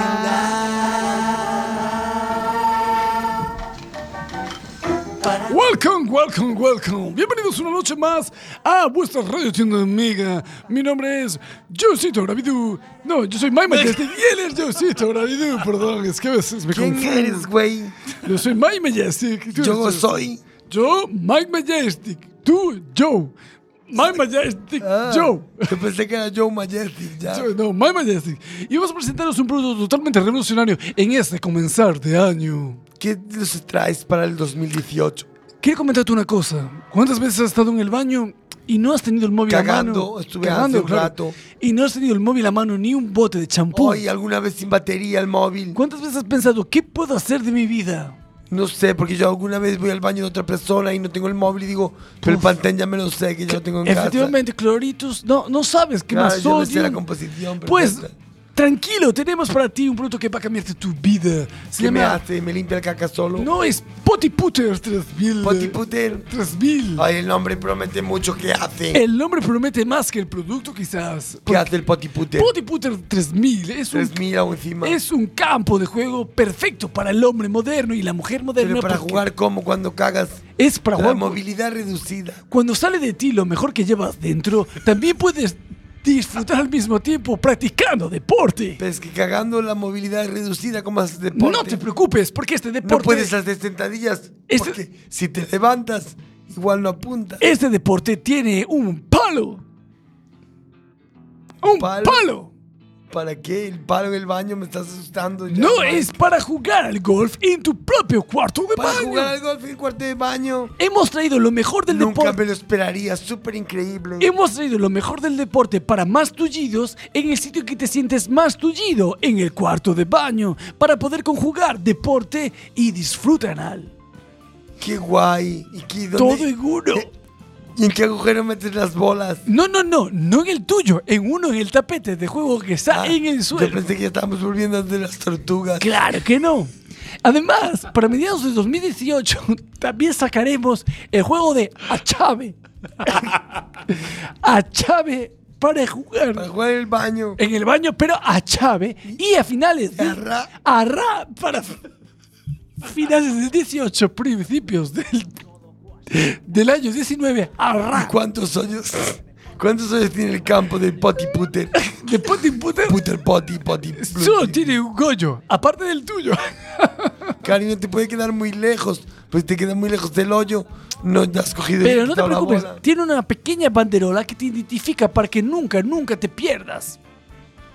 F: Welcome, welcome, welcome. Bienvenidos una noche más a vuestra radio tienda amiga. Mi nombre es Josito Gravidú. No, yo soy My Majestic y él es Josito Gravidú. Perdón, es que a veces me
J: ¿Quién
F: confundo.
J: eres, güey?
F: Yo soy My Majestic. Tú
J: Yo
F: eres-
J: soy.
F: Yo, Mike Majestic. Tú, Joe. My Majestic,
J: Ah.
F: Joe.
J: Yo pensé que era Joe Majestic, ya.
F: Yo- No, My Majestic. Y vamos a presentaros un producto totalmente revolucionario en este comenzar de año.
J: ¿Qué nos traes para el 2018?
F: Quiero comentarte una cosa. ¿Cuántas veces has estado en el baño y no has tenido el móvil a
J: Cagando,
F: mano?
J: estuve
F: Cagando,
J: hace un
F: claro.
J: rato.
F: Y no has tenido el móvil a mano ni un bote de champú.
J: Hoy alguna vez sin batería el móvil.
F: ¿Cuántas veces has pensado, qué puedo hacer de mi vida?
J: No sé, porque yo alguna vez voy al baño de otra persona y no tengo el móvil y digo, pero el pantén ya me lo sé, que ya lo tengo en casa.
F: Efectivamente, cloritos, no, no sabes qué
J: Claro,
F: más
J: yo me sé la
F: sodium.
J: composición
F: Pues, tranquilo, tenemos para ti un producto que va a cambiarte tu vida. Se
J: ¿Qué me
F: llama-
J: hace? ¿Me limpia el caca solo?
F: No, es Potiputer 3000.
J: Potiputer
F: 3000.
J: Ay, el nombre promete mucho. ¿Qué hace?
F: El nombre promete más que el producto, quizás.
J: ¿Qué hace el potiputer?
F: Potiputer 3000 es un,
J: 3000 aún encima.
F: es un campo de juego perfecto para el hombre moderno y la mujer moderna.
J: Pero para
F: porque
J: jugar como cuando cagas.
F: Es para
J: La
F: jugar. pues.
J: movilidad reducida.
F: Cuando sale de ti lo mejor que llevas dentro, también puedes disfrutar al mismo tiempo practicando deporte.
J: Pero es que cagando la movilidad es reducida como haces deporte.
F: No te preocupes, porque este deporte.
J: No puedes hacer sentadillas. Porque si te levantas, igual no apuntas.
F: Este deporte tiene un palo. Un palo.
J: ¿Para qué? El palo en el baño me está asustando. ya.
F: No es para jugar al golf en tu propio cuarto de
J: Para
F: baño.
J: jugar al golf en el cuarto de baño.
F: Hemos traído lo mejor del
J: Nunca
F: deporte.
J: me lo esperaría. Súper increíble.
F: Hemos traído lo mejor del deporte para más tullidos en el sitio que te sientes más tullido, en el cuarto de baño, para poder conjugar deporte y disfrute anal.
J: Qué guay. ¿Y qué, dónde-
F: Todo en uno.
J: ¿Y en qué agujero metes las bolas?
F: No, no, no, no en el tuyo, en uno en el tapete de juego que está en el suelo.
J: Ah, Yo pensé que ya estábamos volviendo de las tortugas.
F: Claro que no. Además, para mediados de 2018 también sacaremos el juego de Achave. Achave para jugar. Para
J: jugar en el baño.
F: En el baño, pero Achave. Y a finales de...
J: Arra.
F: Arra para finales del 18, principios del, del año 19. Arra.
J: ¿Cuántos hoyos? ¿Cuántos hoyos tiene el campo del potiputer?
F: ¿De potiputer?
J: Puter poti, poti.
F: Solo tiene un goyo, aparte del tuyo.
J: Cariño, te puede quedar muy lejos. Pues te queda muy lejos del hoyo. No has cogido y
F: Pero no te
J: quitado la
F: preocupes,
J: bola.
F: tiene una pequeña banderola que te identifica para que nunca, nunca te pierdas.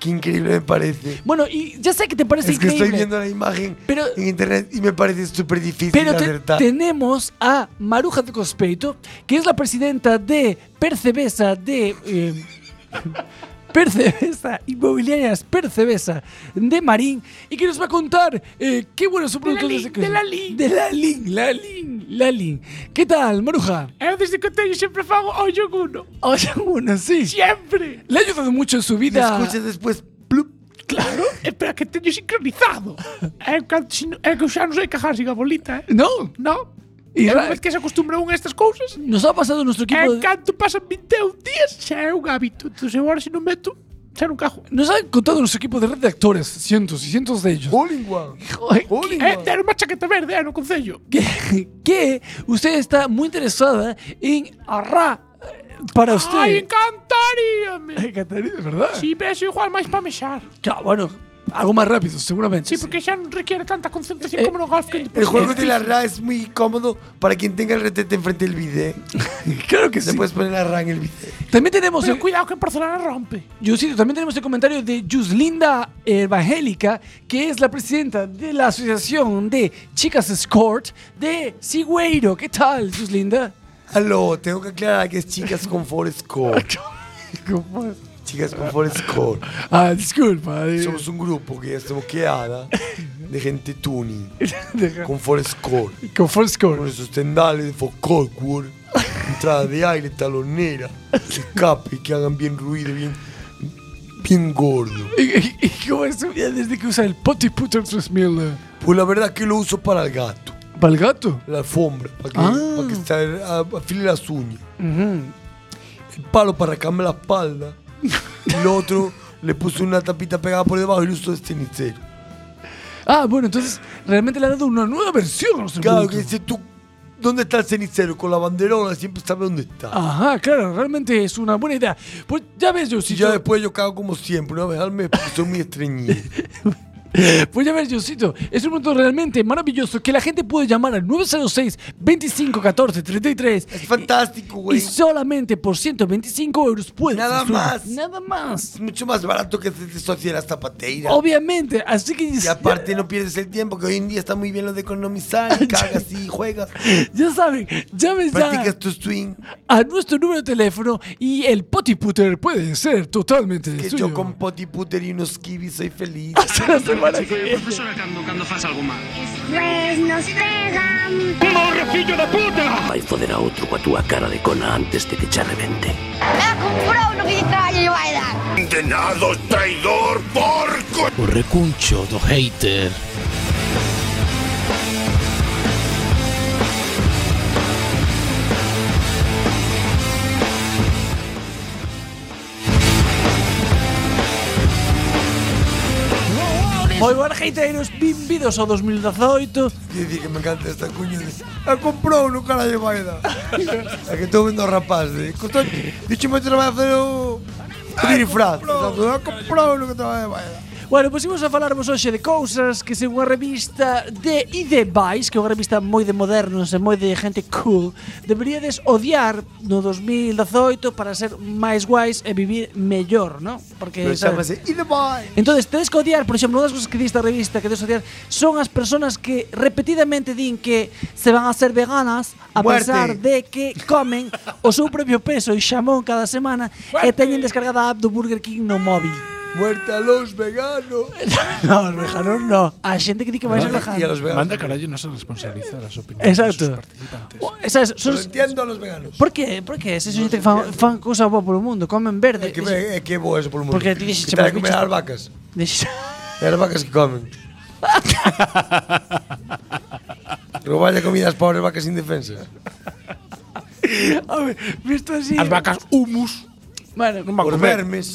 J: Qué increíble me parece.
F: Bueno, y ya sé que te parece
J: es que
F: increíble.
J: estoy viendo la imagen
F: Pero-
J: en internet y me parece súper difícil
F: Pero te-
J: acertar.
F: tenemos a Maruja de Cospeito, que es la presidenta de Percebesa de. eh, Percebesa, Inmobiliarias Percebesa de Marín, y que nos va a contar eh, qué bueno su producto
T: Lin, de la Lin.
F: De la Lin, la Lin, la Lin. ¿Qué tal, Maruja?
T: Eu Eh, desde que teño sempre fago o yoguno.
F: Oye, bueno, sí.
T: Siempre.
F: Le ha ayudado mucho en su
T: Me
F: vida.
T: escuchas
J: después.
T: Claro, espera que teño sincronizado. Eh, É que, é que eu xa non sei cajar sin a bolita, eh?
F: No.
T: No.
F: E
T: E unha
F: ra-
T: vez que se acostumbra un a estas cousas...
F: Nos ha pasado nuestro equipo
T: En
F: de-
T: canto pasan 21 días, xa é un hábito. Entón, eu agora se non meto, xa non cajo.
F: Nos han contado nuestro equipo de redactores, cientos y cientos de ellos. Joder,
T: É ter unha chaqueta verde, é, no concello.
F: que, que usted está muy interesada en arra eh, para usted.
T: Ai, encantaríame.
F: Encantaría, ¿verdad?
T: Si, pero é igual máis para mexar.
F: Ya, bueno, algo más rápido, seguramente. Eh,
T: Sí, porque xa non requiere tanta concentración como no golf que
J: El juego de la RA es muy cómodo para quien tenga el retete enfrente del bidet.
F: claro que
J: sí. Te puedes poner la RA en el bidet.
F: También tenemos.
T: Pero cuidado que en Barcelona rompe.
F: Yosito, también tenemos el comentario de Yuslinda Evangélica, que es la presidenta de la Asociación de Chicas Escort de Sigüeiro. ¿Qué tal, Yuslinda?
J: Aló, tengo que aclarar que es chicas con Forest Core. chicas con Forest Core.
F: Ah, disculpa.
U: eh,
J: Somos un grupo que ya estamos quedada de gente tuni. con Forest Core.
F: Con Forest Core.
J: Con esos tendales de Foscocur. Entrada de aire, talonera, escape, que hagan bien ruido, bien, bien gordo.
F: ¿Y
U: eh,
F: cómo es su vida desde que usa el Potiputter 3000?
J: Pues la verdad que lo uso para el gato.
U: ¿Para el gato?
J: La alfombra, para que,
U: Ah.
J: para que se a- afile las uñas. El palo para rascarme la espalda. y el otro le puso una tapita pegada por debajo y lo usó de cenicero.
U: Ah, bueno, entonces realmente le ha dado una nueva versión a los
J: Claro, que
U: productos.
J: dice tú, ¿dónde está el cenicero? Con la banderola siempre sabe dónde está.
F: Ah,
U: Ajá, claro, realmente es una buena idea. Pues ya ves,
J: Y
U: Josito.
J: ya después yo cago como siempre, una vez al mes, porque soy muy estreñido.
U: Pues ya ves, Josito. Es un momento realmente maravilloso que la gente puede llamar al 906 25 14 33. Es
J: fantástico,
U: güey. Eh, Y solamente por 125 euros puedes.
J: Nada
U: hacer-
J: más.
U: Nada más.
J: Mucho más barato que hacer socia las zapateira.
U: Obviamente, así que.
J: Y aparte no pierdes el tiempo, que hoy en día está muy bien lo de economizar, y cagas y juegas.
U: Ya saben, llamen ya.
J: Practicas tu swing.
U: A nuestro número de teléfono y el potiputer puede ser totalmente
J: Que
U: suyo.
J: yo con poti puter y unos kibis soy feliz.
U: Hasta la semana que viene.
J: Profesora Cando, cando fas algo mal.
M: Pues nos pegan.
V: ¡Morrocillo de puta! Vai foder a outro coa túa cara de cona antes de que che revente.
M: Ha comprado lo que trae y va a dar.
V: Condenados, traidor, porco! O recuncho do hater.
F: Moi boas hateiros, bienvidos ao 2018
J: Dicir que me encanta esta cuña de A comprou no cara de Baida A que estou vendo o rapaz de Costó Dixome que vai facer o o disfraz A comprou no cara de Baida
F: Bueno, pois imos a falarvos hoxe de cousas que según a revista de ID Vice, que é unha revista moi de modernos e moi de gente cool, deberíades odiar no 2018 para ser máis guais e vivir mellor, non? Porque
J: Pero
F: sabe-
J: chamase E the boy
F: Entonces, tedes que odiar, por exemplo, unha das cousas que di esta revista que tedes que odiar son as persoas que repetidamente din que se van a ser veganas a
J: Muerte.
F: pesar de que comen o seu propio peso e xamón cada semana e teñen descargada a app do Burger King no móvil.
J: Muerte a los veganos
F: No, os veganos no. A xente que di que vai ser vegana.
N: Manda carallo non se responsabiliza das opinións.
F: Exacto. O- Esas son
J: Pero entiendo a los veganos
F: Por que? Por que? Esa xente que fan, fan cousa boa polo mundo, comen
J: É
F: verde.
J: que, é que bo eso polo mundo
F: Eh, Porque ti dixes,
J: Que tal
F: "Mas
J: comer
F: bichos-
J: as vacas
F: Dixes-
J: E as vacas que comen Roballe comida ás pobres vacas indefensas
F: A ver, visto así.
N: As vacas humus.
F: Bueno,
N: non van
J: Os
N: comer.
J: vermes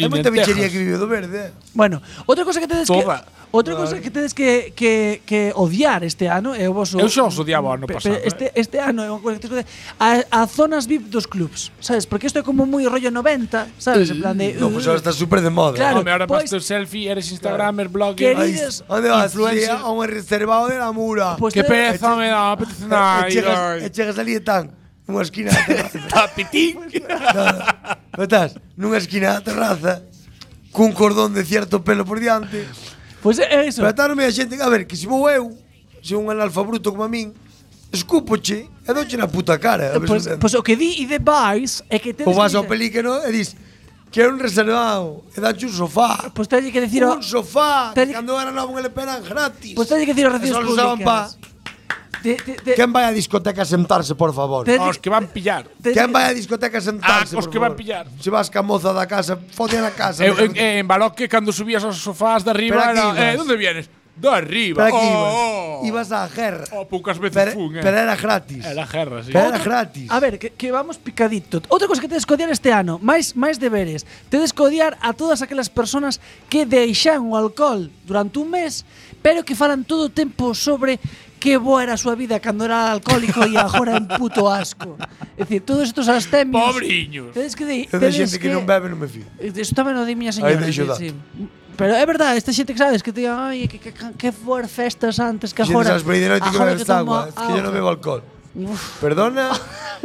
N: Nin
J: Hai moita
N: lentejas.
J: bichería que vive do verde eh.
F: Bueno, outra cousa que tedes que
N: Toda.
F: Outra cousa que tedes que, que, que odiar este ano é o vosso
N: Eu xa os odiaba o ano
F: Pe-
N: pasado, eh.
F: pero Este, este ano é unha cousa que tedes que odiar a, a zonas VIP dos clubs, sabes? Porque isto é como moi rollo 90, sabes? En plan de uh,
J: No, pues ahora está súper de moda
F: Claro,
N: Home, ahora
F: pois-
N: vas tú selfie, eres instagramer, blogger.
J: Queridos ¿Dónde vas? Sí,
N: influencer.
J: a un reservado de la mura. Eh,
N: Pues Qué te- pereza me da, apetece nada ir hoy.
J: Echegas ali e tan nunha esquina da terraza. Tapitín. no, estás nunha esquina da terraza cun cordón de cierto pelo por diante.
F: Pois pues é iso.
J: Pero está no medio da xente, a ver, que se vou eu, se un analfabruto como a min, escúpoche e douche na puta cara. a ver se
F: Pois
J: entende.
F: pois Eh, o que di e de Vice é que
J: Ou
F: tedes
J: Pues vas
F: que-
J: ao pelícano e dis Quero un reservado e dache un sofá.
F: Pois teñe que decir
J: un
F: pues ao-
J: sofá, que
F: teñe-
J: cando era novo que le peran gratis.
F: Pois teñe que decir aos
J: Eso
F: recios
J: lo usaban pa-
F: públicas. De, de, de,
J: Quen vai a discoteca a sentarse, por favor?
N: Te- Aos que van pillar.
J: Quen vai a discoteca a sentarse,
N: Ah, os que
J: por favor?
N: van pillar.
J: Se vas ca moza da casa, fode a la casa.
N: Eu, eu, eh, en Baloque, cando subías aos sofás de arriba,
J: Pero aquí
N: era, eh,
J: vas.
N: donde vienes? De arriba.
J: Pero aquí
N: oh,
J: ibas, ibas á guerra.
N: Oh, poucas veces
J: Pero-
N: fun, eh.
J: pero era gratis.
N: Era guerra, sí.
J: Pero era gratis.
F: A ver, que, que vamos picadito. Outra cousa que tedes que odiar este ano, máis máis deberes. Tedes que odiar a todas aquelas personas que deixan o alcohol durante un mes, pero que falan todo o tempo sobre que boa era a súa vida cando era alcohólico e agora é un puto asco. É dicir, todos estos abstemios...
J: Pobriños.
F: Tedes que... di-
J: Eu de
F: tedes
J: xente que, non bebe non me fío.
F: Isto tamén o di miña señora.
J: Aí deixo
F: sí,
J: dato.
F: sí. Pero é verdad, esta xente que sabes que te digan, ai, que, que, que, que fuer festas antes que
J: Que xente
F: agora.
J: sabes por aí de noite que
F: agora
J: bebes
F: tomo
J: agua. Es que yo non bebo alcohol.
F: Uf.
J: Perdona,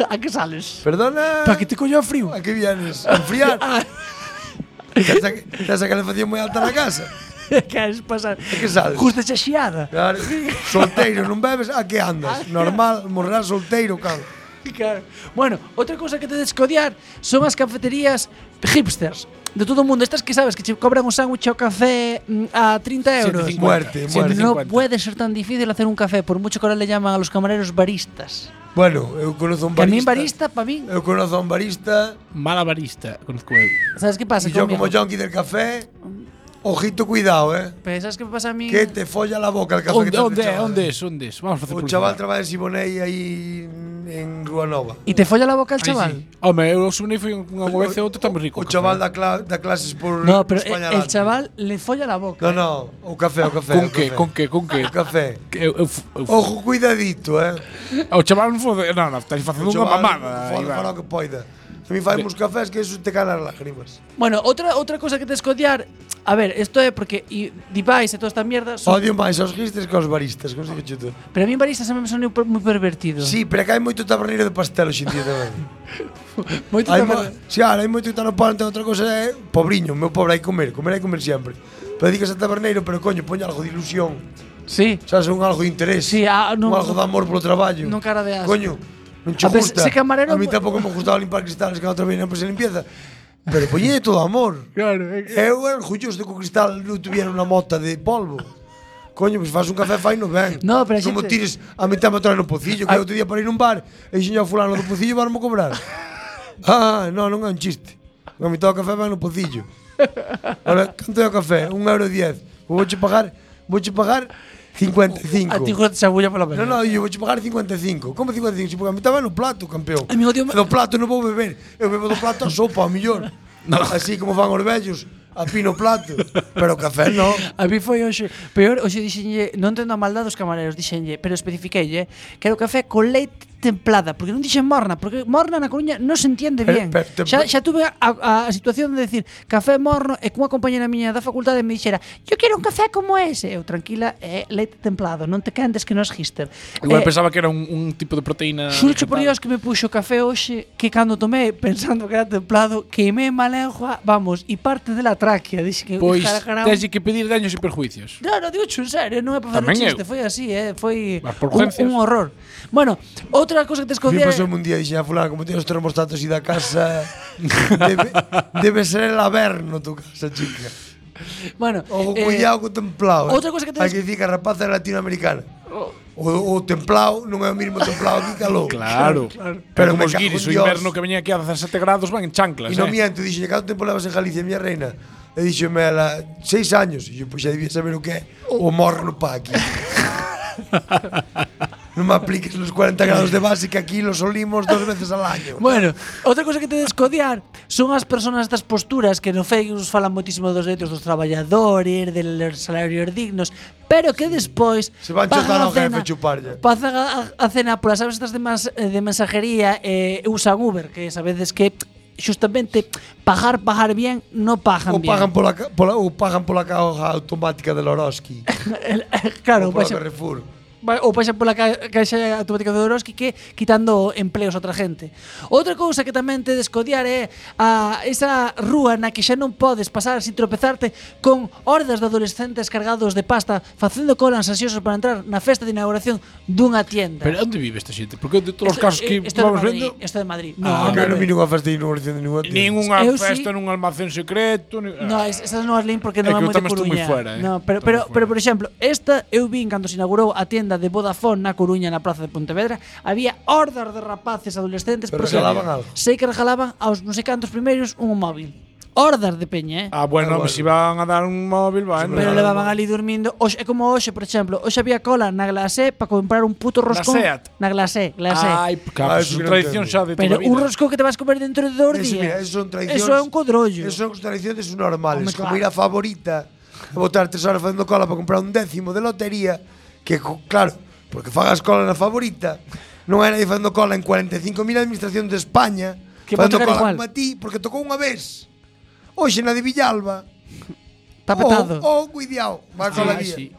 F: a que sales? Ah,
J: perdona.
F: Pa que te coño a frío?
J: A que vienes? A enfriar. Tens a, tens a calefacción moi alta na casa.
F: Queres pasar?
J: A que sales?
F: Justo xa xiada.
J: Claro. Solteiro, non bebes, a que andas? Normal, morrer solteiro, cal.
F: Claro. Bueno, outra cousa que tedes que odiar son as cafeterías hipsters de todo o mundo. Estas que sabes que che cobran un sándwich ao café mm, a 30 euros.
J: 7,50. Muerte, muerte.
F: No puede ser tan difícil hacer un café, por mucho que ahora le llaman a los camareros baristas.
J: Bueno, eu conozo un
F: Que a min
J: barista.
F: barista, pa min.
J: Eu conozo un barista.
N: Mala barista, conozco eu.
F: Sabes que pasa
J: E yo
F: comigo?
J: como junkie del café, Ojito, cuidado, eh.
F: Pensas que pasa a mí?
J: Que te folla la boca el café
N: Onde,
J: que te
N: onde,
J: chaval,
N: onde
J: eh.
N: es, onde es? Vamos a facer
J: O
N: publicidade.
J: chaval traballa en Siboney aí en Rua Nova.
F: E te folla la boca el chaval?
N: Home, eu subnei foi unha vez e outro está moi rico.
J: O chaval da, cla da clases por
F: No, pero
J: España
F: el, el
J: Adelante.
F: chaval le folla la boca.
J: No, no, o café, o café.
N: Con
J: o
N: que,
J: café.
N: con que, con que.
J: O café.
N: Ojo,
J: cuidadito, eh.
N: O chaval non fode, non, non, estás facendo
J: O
N: unha
J: chaval,
N: mamada.
J: Fala,
N: Iván.
J: fala o que poida. A mí fai uns cafés que eso te calan as lágrimas.
F: Bueno, outra outra cosa que tes que odiar, a ver, isto é porque i- Device e toda esta mierda son
J: Odio máis aos gistres que aos baristas, como se dicho tú.
F: Pero a mí en barista sempre me son moi pervertido.
J: Sí, pero acá hai moito taberneiro de pastel hoxe en día tamén.
F: Moito
J: hai mo
F: taberneiro.
J: Si, ahora hai moito tano pan, outra cousa é pobriño, o meu pobre hai que comer, comer hai que comer sempre. Pero digas a taberneiro, pero coño, poño algo de ilusión.
F: Sí.
J: Sabes, un algo de interés.
F: Sí, ah, non-
J: un algo de amor polo traballo.
F: non cara de asco.
J: Coño, non che
F: A ver,
J: gusta.
F: ese camarero-
J: a mí tampouco me gustaba limpar cristales que a outra vez non se limpieza. Pero poñe todo amor.
N: Claro,
J: Eu era orgulloso de que o cristal non tuviera unha mota de polvo. Coño, pois faz un café fai no ben.
F: No, pero a
J: Como
F: xente-
J: tires a metade motora no pocillo, que
F: Ai.
J: outro día para ir a un bar e dixen ao fulano do pocillo varmo cobrar. ah, non, non é un chiste. A metade do café vai no pocillo. Ahora, canto é o café? Un euro diez. Vouche pagar, vouche pagar 55.
F: A ti joder, se abulla pola
J: No, no, yo vouche pagar 55. Como 55? Si, Porque a metade vai no plato, campeón.
F: Ai, meu Dios,
J: do plato non vou beber. Eu bebo do plato a sopa, a millor. Así como fan os vellos, a pino plato. Pero café non.
F: A mí foi hoxe Peor, hoxe dixenlle Non entendo a maldad dos camareros Dixenlle, pero especifiqueille Quero café con leite templada Porque non dixen morna Porque morna na Coruña non se entiende
J: Pero-
F: bien
J: pero tem-
F: xa, xa tuve a, a, a situación de decir Café morno E cunha compañera miña da facultade me dixera Yo quero un café como ese Eu, tranquila, é leite templado Non te cantes que non es gister
N: Igual
F: Eh,
N: pensaba que era un, un tipo de proteína.
F: Xurcho por Dios que me puxo café hoxe que cando tomé pensando que era templado queimé malengua, vamos, e parte de la tráquea, dixe que
N: Pois
F: cargará un-
N: tens que pedir daños e perjuicios.
F: No, no, digo xo, en serio, non é para facer un
N: Tamén eu.
F: chiste, foi así, eh, foi
N: Mas por
F: un,
N: urgencias.
F: un horror. Bueno, outra cosa que
J: A mí
F: te escondía
J: pasou un día dixen a fulano como tens os termostatos e da casa debe, debe ser el averno tu casa, chica.
F: Bueno,
J: O
F: eh,
J: cuidado co templado.
F: outra cosa que tens- Oh.
J: Hai que dicir que a rapaza é latinoamericana. O, o templado non é o mismo templado aquí calor.
N: Claro.
J: Pero
N: Pero como
J: me
N: os
J: cago en
N: guiris, o
J: Dios.
N: inverno que veña aquí a 17 grados van en chanclas,
J: E non
N: eh.
J: miento, dixen, cando tempo levas en Galicia, miña reina? E dixome ela, seis años. E eu, pois xa debía saber o que é o
F: Oh.
J: morno pa aquí. non me apliques los 40 grados de base que aquí los olimos dos veces al año.
F: Bueno, outra cosa que te descodiar son as persoas das posturas que no Facebook falan moitísimo dos dereitos dos traballadores, dos salarios dignos, pero que despois se
J: van chutar ao jefe chuparlle.
F: Pasan a, a cena polas aves estas de, mas, eh, de mensajería e usan Uber, que sabedes que justamente pagar pagar bien no
J: Ou
F: pagan bien.
J: pagan pola, ca- pola, ou pagan pola caja automática de Loroski. ou
F: claro, pues,
J: pola
F: pasan-
J: Carrefour.
F: Va- ou pasan pola ca- caixa automática de Oroski que quitando empleos a outra gente. Outra cousa que tamén te descodiar é a esa rúa na que xa non podes pasar sin tropezarte con hordas de adolescentes cargados de pasta facendo colas ansiosos para entrar na festa de inauguración dunha tienda.
N: Pero onde vive esta xente? Porque de todos os casos que
F: isto
N: vamos
F: de Madrid,
N: vendo,
F: Isto de Madrid. No,
J: Ah,
F: no,
J: que non
F: no.
J: vi nunha festa de inauguración de ninguna tienda.
N: Nunha
F: Eu
N: festa nun almacén secreto, ni...
F: No, es- esas non as lin porque
N: É
F: non
N: que eu
F: é, moi de
N: tamén estou
F: Coruña.
N: moi fuera, eh.
F: No, pero, pero, pero, por exemplo, esta eu vin cando se inaugurou a tienda de Vodafone na Coruña na Plaza de Pontevedra, había hordas de rapaces adolescentes
J: Pero
F: porque
J: regalaban algo.
F: Sei que regalaban aos non sei cantos primeiros un móvil. Hordas de peña, eh.
N: Ah, bueno, se iban a dar un móvil, bueno.
F: Pero levaban ali durmindo Oxe, é como hoxe, por exemplo Hoxe había cola na Glasé Para comprar un puto roscón
N: Seat?
F: Na Glasé, Glasé
N: Ai, claro,
J: Ah,
N: es
J: eso
N: unha
J: que non
N: tradición
J: entendo.
N: xa de toda
F: Pero
N: a vida.
F: un roscón que te vas comer dentro de dos
J: Ese, mira, esos
F: días
J: son tradicións.
F: Eso é un codrollo
J: Eso son tradiciones normales.
F: Home,
J: como
F: claro.
J: ir a favorita, a botar tres horas facendo cola para comprar un décimo de lotería, que, co- claro, porque fagas cola na favorita, non hai nadie facendo cola en 45.000 administracións de España,
F: Que
J: facendo
F: vou tocar
J: cola
F: igual.
J: como a ti, porque tocou unha vez. Hoxe na de Villalba.
F: Está petado
J: Oh, oh cuidado, va cola guía.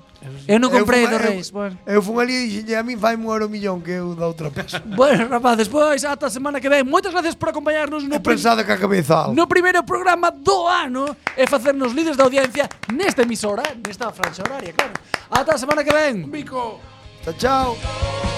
F: Eu non comprei
J: fun-
F: do Reis,
J: Eu,
F: bueno.
J: eu fun ali e dixenlle a min fai un euro millón que eu da outra peso.
F: Bueno, rapaces, pois ata a semana que ven. Moitas gracias por acompañarnos no, prim
J: Pensade que a cabeza.
F: no primeiro programa do ano e facernos líderes da audiencia nesta emisora, nesta franxa horaria, claro. Ata a semana que ven.
J: Chao, chao.